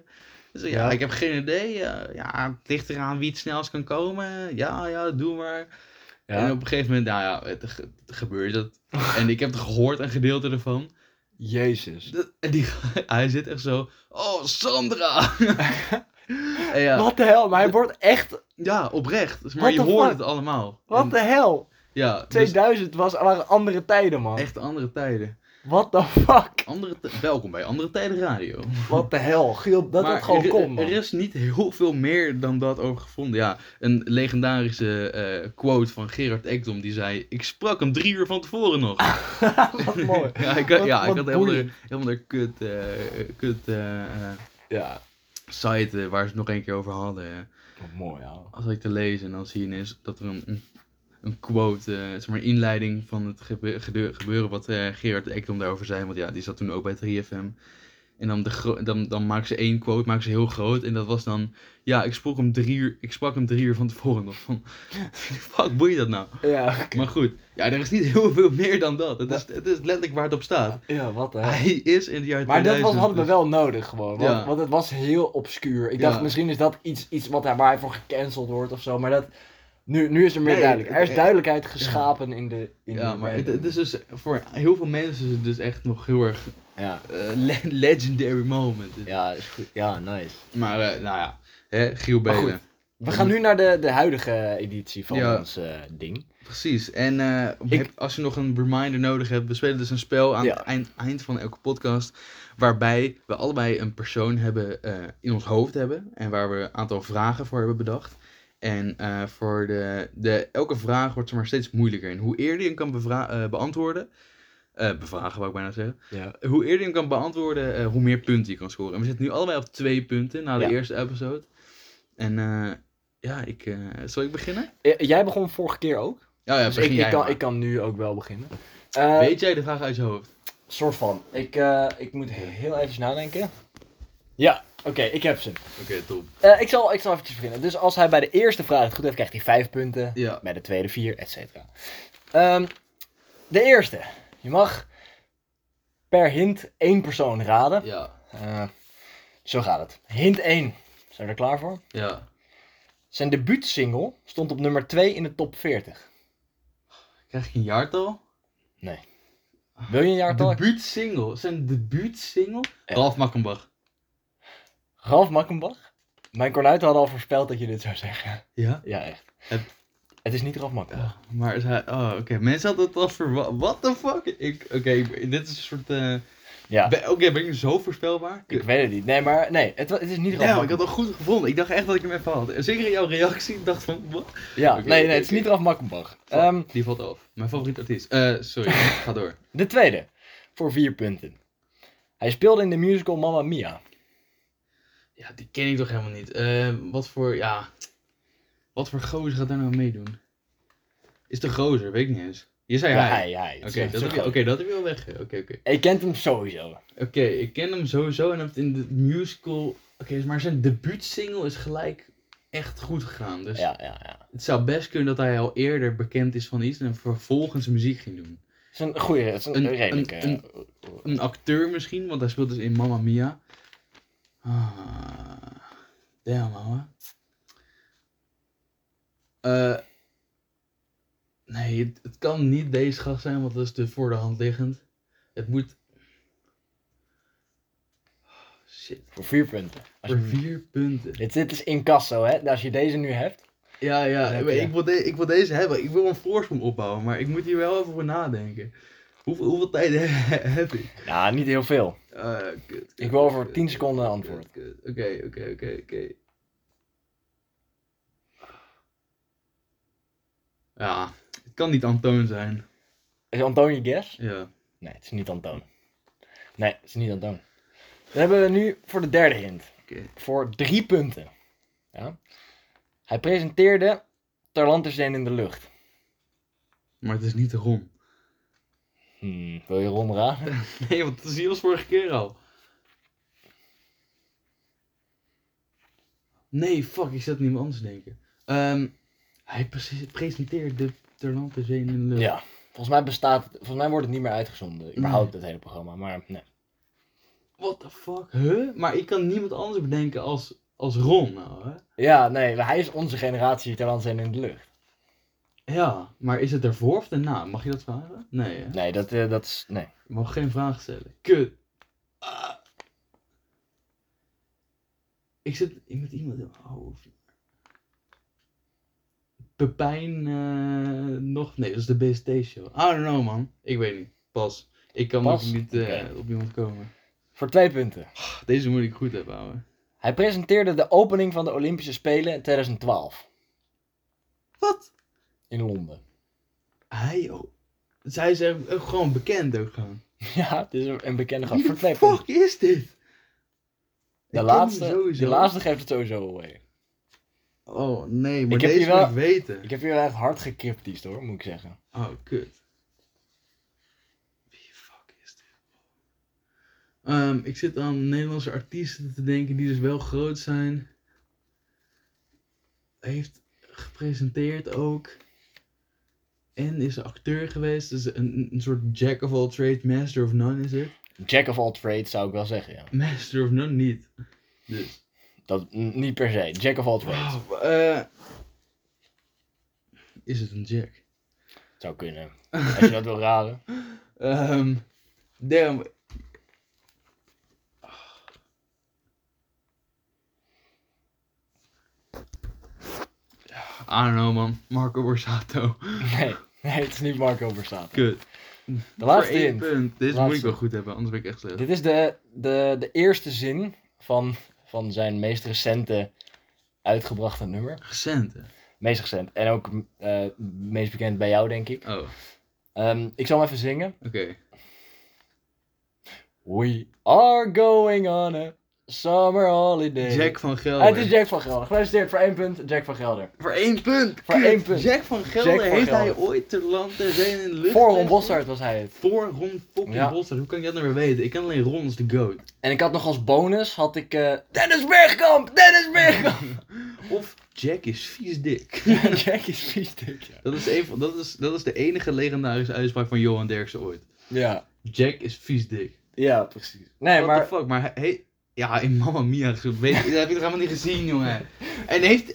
Zo, ja, Ja. ik heb geen idee. eh, ja, het ligt eraan wie het snelst kan komen. Ja, ja, doe maar. En op een gegeven moment, nou ja, het, ge- het gebeurt dat. En ik heb het gehoord, een gedeelte ervan. Jezus. Dat- en die, [laughs] hij zit echt zo, oh, Sandra! [laughs] En ja, Wat de hel, maar hij wordt echt. ja, oprecht. Dus Maar What je the hoort fuck? het allemaal. En- Wat de hel? Ja, dus 2000 was, waren andere tijden, man. echt andere tijden. What the fuck? Andere ti- Welkom bij Andere Tijden Radio. Wat de hel? Giel, dat het gewoon er, kon, man. er [laughs] is niet heel veel meer dan dat over gevonden. Ja, een legendarische eh, quote van Gerard Ekdom die zei... Ik sprak hem drie uur van tevoren [laughs] nog. Wat mooi. ja, ik, had- ja, Wat- wat ik had helemaal boeiend. de, helemaal de kut, eh, kut eh, eh, Ja, site eh, waar ze het nog een keer over hadden. wat mooi, ouwe. Als ik te lezen en dan zie je is dat er een, een, een quote, eh, zeg maar inleiding van het gebe- gede- gebeuren wat eh, Gerard Ekdom daarover zei. Want ja, die zat toen ook bij 3FM. En dan, de gro- dan, dan maken ze één quote, maken ze heel groot. En dat was dan, ja, ik sprak hem drie uur, ik sprak hem drie uur van tevoren nog. Van, [laughs] fuck, boeit dat nou? Ja, [laughs] oké. Maar goed, ja, er is niet [laughs] heel veel meer dan dat. Het is, het is letterlijk waar het op staat. ja, wat de hel. Hij is in het jaar Maar dat was, 2000 hadden we dus- wel nodig gewoon. Want, Ja. want het was heel obscuur. Ik Ja. dacht, misschien is dat iets, iets wat, hij- waar hij voor gecanceld wordt of zo. Maar dat, nu, nu is er meer Nee, duidelijkheid. Er is het- eh, duidelijkheid geschapen in de. In Ja, de maar het, random. het is dus voor heel veel mensen is het dus echt nog heel erg Ja. eh, le- legendary moment. ja, is goed. Ja, nice. Maar, eh, nou ja, hè, Giel Maar Belen. We gaan nu naar de, de huidige editie van Ja. ons eh, ding. Precies. En eh, Ik- heb- als je nog een reminder nodig hebt, we spelen dus een spel aan Ja. het eind, eind van elke podcast. Waarbij we allebei een persoon hebben eh, in ons hoofd hebben. En waar we een aantal vragen voor hebben bedacht. En eh, voor de, de, elke vraag wordt ze maar steeds moeilijker. En hoe eerder je hem kan bevra- eh, beantwoorden. eh, bevragen, wou ik bijna zeggen. Ja. Hoe eerder je hem kan beantwoorden, eh, hoe meer punten je kan scoren. En we zitten nu allebei op twee punten na de Ja. eerste episode. En eh, ja, ik, eh, zal ik beginnen? Oh Eh, Jij begon vorige keer ook. ja, dus ik, begin ik, jij kan, maar. ik kan nu ook wel beginnen. Eh, Weet jij de vraag uit je hoofd? soort van. Ik, eh, ik moet heel even nadenken. Ja, oké, ik heb ze. Oké, top. Eh, ik, zal, ik zal eventjes beginnen. Dus als hij bij de eerste vraag het goed heeft, krijgt hij vijf punten. Ja. Bij de tweede vier, et cetera. Ehm, de eerste. Je mag per hint één persoon raden. Ja. Eh, zo gaat het. Hint 1. Zijn we er klaar voor? Ja. Zijn debuutsingle stond op nummer 2 in de top 40. Krijg ik een jaartal? Wil je een jaartal? Debuutsingle. Zijn debuutsingle? Ja. Ralf Makkenbach. Ralf Makkenbach? Mijn cornuiten hadden al voorspeld dat je dit zou zeggen. Ja? Ja, echt. Het- Het, is niet Ralf Makkenbach. maar is hij... Oh, oké. Mensen hadden het al verwacht. What the fuck? Ik... Oké, ik- dit is een soort... eh, Ja. ben- Oké, ben ik zo voorspelbaar? Ik weet het niet. Nee, maar nee, het, wa- het is niet Ralf Ja, maar ik had Makkenbach. het goed gevonden. Ik dacht echt dat ik hem even had. En Zeker in jouw reactie. Ik dacht van... Wat? Ja, Oké, nee, oké, nee, het is oké. niet Ralf Makkenbach. Ehm, Die valt af. Mijn favoriete artiest. Eh, [laughs] sorry. Ga door. de tweede. Voor vier punten. Hij speelde in de musical Mamma Mia. Ja, die ken ik toch helemaal niet. Eh, wat voor... Ja... Wat voor gozer gaat daar nou meedoen? Is de gozer? Weet ik niet eens. Je zei Ja, hij. hij, hij. Het Oké, is echt dat, zo heb je- groot. oké, dat heb je wel weg. Oké, oké. Je kent hem sowieso. Oké, ik ken hem sowieso en het in de musical. Oké, maar zijn debuutsingle is gelijk echt goed gegaan. Dus Ja, ja, ja. het zou best kunnen dat hij al eerder bekend is van iets en vervolgens muziek ging doen. Het is een goede, het is een, Een- een- redelijke. eh, een- Een acteur misschien, want hij speelt dus in Mamma Mia. Ah, damn, ouwe. Eh, nee, het, het kan niet deze gast zijn, want dat is te voor de hand liggend. Het moet... Shit, Voor vier punten. Als voor je- vier punten. dit, dit is incasso, hè? Dus Als je deze nu hebt. Ja, ja, Ja, ik, weet- ja. ik, wil de- ik wil deze hebben. Ik wil een voorsprong opbouwen, maar ik moet hier wel even over nadenken. Hoeveel, hoeveel tijd [laughs] heb ik? Ja, niet heel veel. Eh, kut, Ik wil over kut, 10 kut, seconden een kut, antwoord. kut. Oké, oké, oké, oké. Ja, het kan niet Antoon zijn. Is Antoon je guess? Ja. Nee, het is niet Antoon. Nee, het is niet Antoon. Dan hebben we nu voor de derde hint. Oké. Voor drie punten. Ja. Hij presenteerde Ter land is een in de lucht. Maar het is niet Ron. Hmm, wil je Ron raden? [laughs] Nee, want dat is hier als vorige keer al. Nee, fuck, ik zat niemand anders te denken. Ehm, hij prese- presenteert de Terlante Zeen in de lucht. Ja. Volgens mij bestaat het, volgens mij wordt het niet meer uitgezonden. Überhaupt het hele programma, maar nee. What the fuck, huh? Maar ik kan niemand anders bedenken als, als Ron nou, hè? Ja, nee, hij is onze generatie Ter land is een in de lucht. Ja, maar is het ervoor of daarna? Mag je dat vragen? Nee, hè? Nee, dat, eh, dat is, nee. Je mag geen vraag stellen. Kut. Ah. Ik zit met iemand in mijn hoofd. Pepijn eh, nog? Nee, dat is de BST-show. I don't know, man. Ik weet niet. Pas. Ik kan Pas? nog niet eh, Oké. op iemand komen. Voor twee punten. Deze moet ik goed hebben, ouwe. Hij presenteerde de opening van de Olympische Spelen in 2012 Wat? in Londen. [laughs] Hij, oh. Zij is echt- echt gewoon bekend ook gewoon. Ja, het is een bekende gast. Wie Voor de twee punten. fuck is dit? De Ik ken hem laatste, sowieso. de laatste geeft het sowieso away. Oh nee, maar Ik heb deze hier wel- moet ik weten. Ik heb hier echt hard gekiptiest hoor, moet ik zeggen. Oh, kut. Wie fuck is dit? Ehm, ik zit aan Nederlandse artiesten te denken die dus wel groot zijn. Heeft gepresenteerd ook. En is acteur geweest. Dus een, een soort jack of all trades, master of none is het. Jack of all trades zou ik wel zeggen, ja. Master of none niet. Dus. Dat n- niet per se. Jack of all trades. Wauw, eh, is het een jack? Zou kunnen. Als je dat wil raden. Ehm damn. I don't know, man. Marco Borsato. [laughs] Nee, nee, het is niet Marco Verstappen. Kut. De laatste Voor één hint. punt. Dit moet Laatste. ik wel goed hebben, anders ben ik echt slecht. Dit is de, de, de eerste zin van, van zijn meest recente uitgebrachte nummer. Recenten. Meest recent. En ook eh, meest bekend bij jou, denk ik. Oh, oké. Ehm, ik zal hem even zingen. We are going on a summer holiday. Jack van Ah, Gelder. het is Jack van Gelder. Gefeliciteerd voor één punt, Jack van Gelder. Voor één punt. Voor één punt. Jack van Gelder. Jack van heeft hij Gelder. ooit ter land ter zee en in de lucht? Voor Ron gespeeld? Bossard was hij het. Voor Ron fucking Ja. Bossard. Hoe kan ik dat nou weer weten? Ik ken alleen Ron als de goat. En ik had nog als bonus, had ik... eh, Dennis Bergkamp! Dennis Bergkamp! [laughs] Of Jack is vies dik. [laughs] Jack is vies dik, ja. dat, is een, van- dat, is, dat is de enige legendarische uitspraak van Johan Derksen ooit. Ja, Jack is vies dik. ja, precies. Nee, What maar... the fuck, maar hij... hij- ja, in Mamma Mia, zo weet, dat heb ik nog helemaal niet gezien, jongen. En heeft...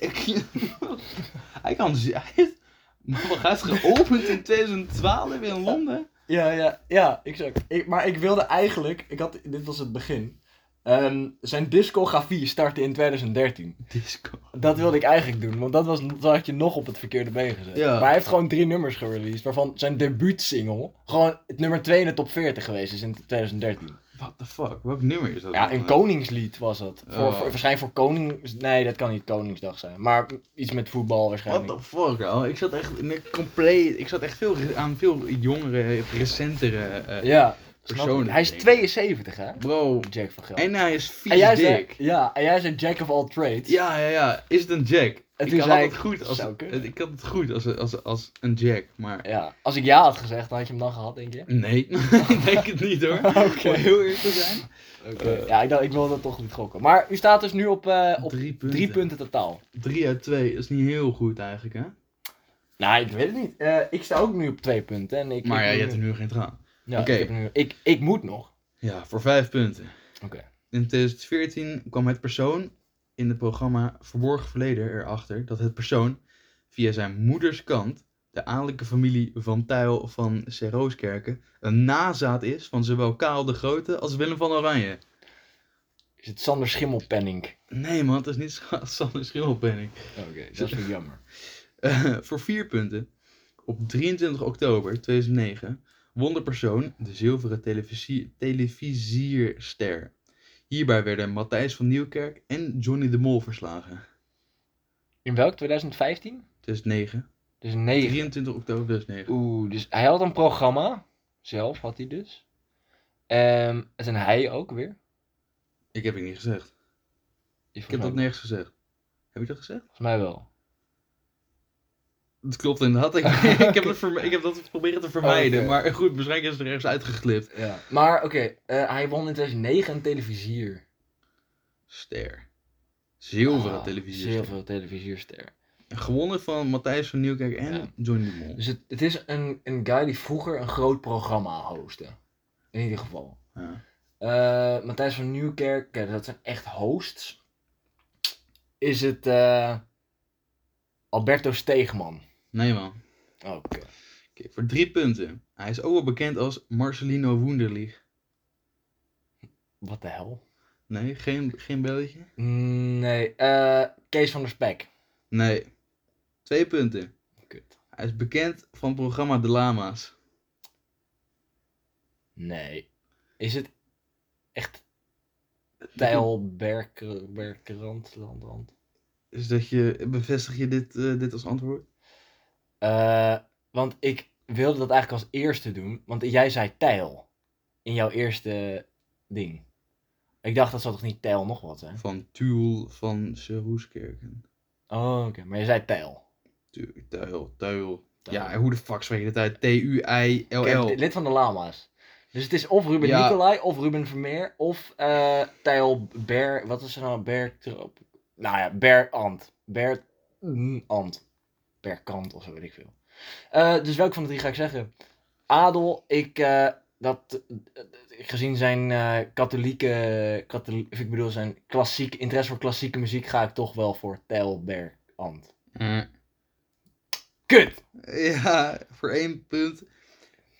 hij kan... z- Hij heeft, Mamma gaat geopend in 2012 in Londen. Ja, ja, ja, exact. Ik, maar ik wilde eigenlijk... Ik had, dit was het begin. Ehm, zijn discografie startte in 2013. Disco. Dat wilde ik eigenlijk doen, want dat was, dan had je nog op het verkeerde been gezet. Ja. Maar hij heeft gewoon drie nummers gereleased, waarvan zijn debuutsingle gewoon het nummer 2 in de top 40 geweest is in 2013. What the fuck, welk nummer is dat? Ja, dan? een koningslied was dat. Voor, Oh. voor- waarschijnlijk voor konings... Nee, dat kan niet koningsdag zijn, maar iets met voetbal What waarschijnlijk. the fuck, al. Ik zat echt in een compleet... Ik zat echt veel, re- aan veel jongere, recentere... eh, Ja, Persoonlijk snap ik. Hij is denk ik. 72 hè, Bro. Jack van Gelder. En hij is vies En jij zei, dik. ja, en jij zei Jack of all trades. Ja, ja, ja. Is het een Jack? En ik toen had zei het ik, goed als, zou kunnen. ik had het goed als, als, als een Jack, maar... Ja, Als ik ja had gezegd, dan had je hem dan gehad, denk je? Nee, [laughs] ik denk het niet hoor. [laughs] [laughs] Oké. Om heel eerlijk te zijn. Eh, ja, ik, dacht, ik wilde dat toch niet gokken. Maar u staat dus nu op, eh, op drie punten. drie punten totaal. Drie uit twee is niet heel goed eigenlijk hè. Nou, ik weet het niet. Eh, ik sta ook nu op twee punten. En ik, Maar ik ja, moet je hebt er nu- nu geen traan. Ja, Oké. ik, heb er nu- ik, ik moet nog. Ja, voor vijf punten. Oké. In 2014 kwam het persoon in het programma Verborgen Verleden erachter dat het persoon via zijn moeders kant de adellijke familie van Tuyl van Serrooskerken een nazaat is van zowel Karel de Grote als Willem van Oranje. Is het Sander Schimmelpenning? Nee man, het is niet [laughs] Sa- Sander Schimmelpenning. Oké, dat is wel jammer. Eh, [laughs] voor vier punten. Op 23 oktober 2009 won de persoon de zilveren televisie televisierster. Hierbij werden Matthijs van Nieuwkerk en Johnny de Mol verslagen. In welk? 2015? 2009. Dus 9. 23 oktober 2009. Oeh, dus hij had een programma. Zelf had hij dus. Ehm het en hij ook weer. Ik heb het niet gezegd. Die Ik heb dat volgens mij- nergens gezegd. Heb ik dat gezegd? Volgens mij wel. Dat klopt inderdaad. [laughs] Ik, [laughs] ik, heb, dat verm- ik heb dat proberen te vermijden. Oh, Oké. Maar goed, waarschijnlijk is het er ergens uitgeglipt. Ja. Maar oké, eh, hij won in 2009 een televisier. Ster. Zilveren Ah, televisie. Zilveren televisierster. Gewonnen van Matthijs van Nieuwkerk en Ja. Johnny de Mol. Dus het, het is een, een guy die vroeger een groot programma hostte. In ieder geval. Ja. Eh, Matthijs van Nieuwkerk, eh, dat zijn echt hosts. Is het eh, Alberto Steegman? Oh, Nee man. Oké. Oké, voor drie punten. Hij is ook wel bekend als Marcelino Wunderlich. Wat de hel? Nee, geen, geen belletje? Nee, eh, Kees van der Spek. Nee. Twee punten. Kut. Hij is bekend van het programma De Lama's. Nee. Is het echt Tijl Berker- Berkerand? Landrand? Dus dat je, bevestig je dit, eh, dit als antwoord? Eh, want ik wilde dat eigenlijk als eerste doen, want jij zei Tijl in jouw eerste ding. Ik dacht dat zou toch niet Tijl nog wat zijn? Van Tuul van Seroeskerken. Oh, oké. Maar je zei Tijl. Tu- Tuil, Tuil. Tuil. Ja, hoe de fuck spreek je dat uit? T-U-I-L-L. Kijk, lid van de Lama's. Dus het is of Ruben Ja. Nicolai, of Ruben Vermeer, of eh Tijl Ber... Wat is er nou? Ber... Nou ja, Berant. Bert... mm, Ant. Berkant of zo, weet ik veel. Eh, dus welke van de drie ga ik zeggen? Adel, ik... eh, dat, eh, gezien zijn eh, katholieke... Kathol of ik bedoel, zijn klassiek, interesse voor klassieke muziek... ga ik toch wel voor Tijl Berant. Eh. Kut! Ja, voor één punt.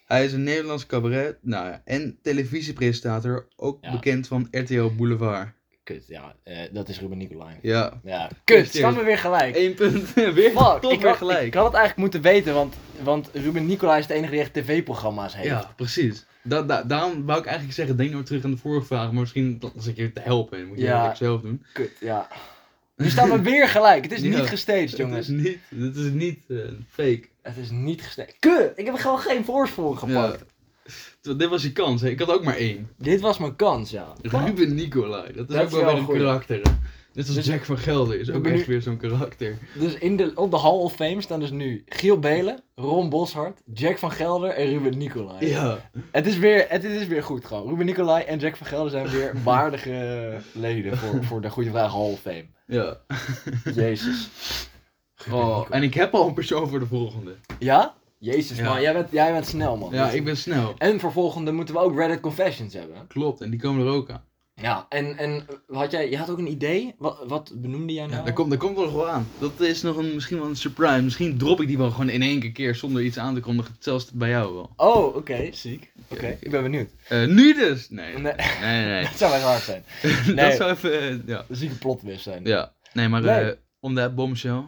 Hij is een Nederlands cabaret nou ja, en televisiepresentator, ook Ja. bekend van RTL Boulevard. Kut, ja. eh, dat is Ruben Nicolai. Ja. Ja, kut. serieus. Staan we weer gelijk. Eén punt. [laughs] weer [laughs] Fuck, toch ik weer had, gelijk. ik had het eigenlijk moeten weten, want, want Ruben Nicolai is de enige die echt tv-programma's heeft. Ja, precies. Da da- daarom wou ik eigenlijk zeggen, denk nooit terug aan de vorige vraag, maar misschien dat als ik je te helpen en moet je Ja. eigenlijk zelf doen. Kut, ja. Nu staan [laughs] we weer gelijk. Het is Ja. niet gestaged, Het jongens. is niet, het is niet eh, fake. Het is niet gestaged. Kut, ik heb gewoon geen voorsprong gepakt. Terwijl Dit was je kans, hè. ik had ook maar één. Dit was mijn kans, ja. [laughs] Ruben Nicolai, dat is Dat ook is wel wel weer een goed. karakter. Net als Dus- Jack van Gelder is ook ben echt ik- weer zo'n karakter. Dus in de, op de Hall of Fame staan dus nu Giel Belen, Ron Boshart, Jack van Gelder en Ruben Nicolai. Ja, Het, is weer, het is weer goed gewoon. Ruben Nicolai en Jack van Gelder zijn [laughs] weer waardige leden voor, voor de Goede Vraag Hall of Fame. ja. Jezus. Oh, en ik heb al een persoon voor de volgende. Ja? Jezus Ja. man, jij bent, jij bent snel man. Ja, ik ben snel. En voor volgende moeten we ook Reddit Confessions hebben. Klopt, en die komen er ook aan. Ja, en, en had jij, je had ook een idee? Wat, wat benoemde jij nou? Ja, daar komt, daar komt wel nog wel aan. Dat is nog een, misschien wel een surprise. Misschien drop ik die wel gewoon in één keer keer zonder iets aan te kondigen. Zelfs bij jou wel. Oh, oké, ziek. Oké, ik ben benieuwd. Eh, nu dus! Nee. Nee, Nee, [laughs] nee. nee. dat zou wel hard zijn. Dat Nee. zou even. eh, ja. Een zieke plotwist zijn. ja. Nee, maar eh, Nee. om dat bombshell.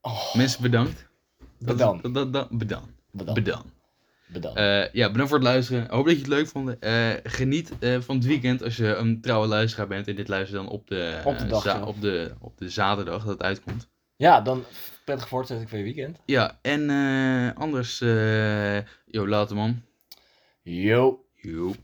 Oh, Mensen bedankt. Dat is- Bedankt. Dat, dat, dat, bedankt. bedankt. Bedankt. bedankt. Eh, ja, bedankt voor het luisteren. Ik hoop dat je het leuk vond. Eh, geniet eh, van het weekend als je een trouwe luisteraar bent. En dit luistert dan op de, Op de eh, dag za- zelf. op, de, op de zaterdag dat het uitkomt. ja, dan prettig voortzetting van je weekend. Ja, en eh, anders, eh yo, later man. Yo. Yo.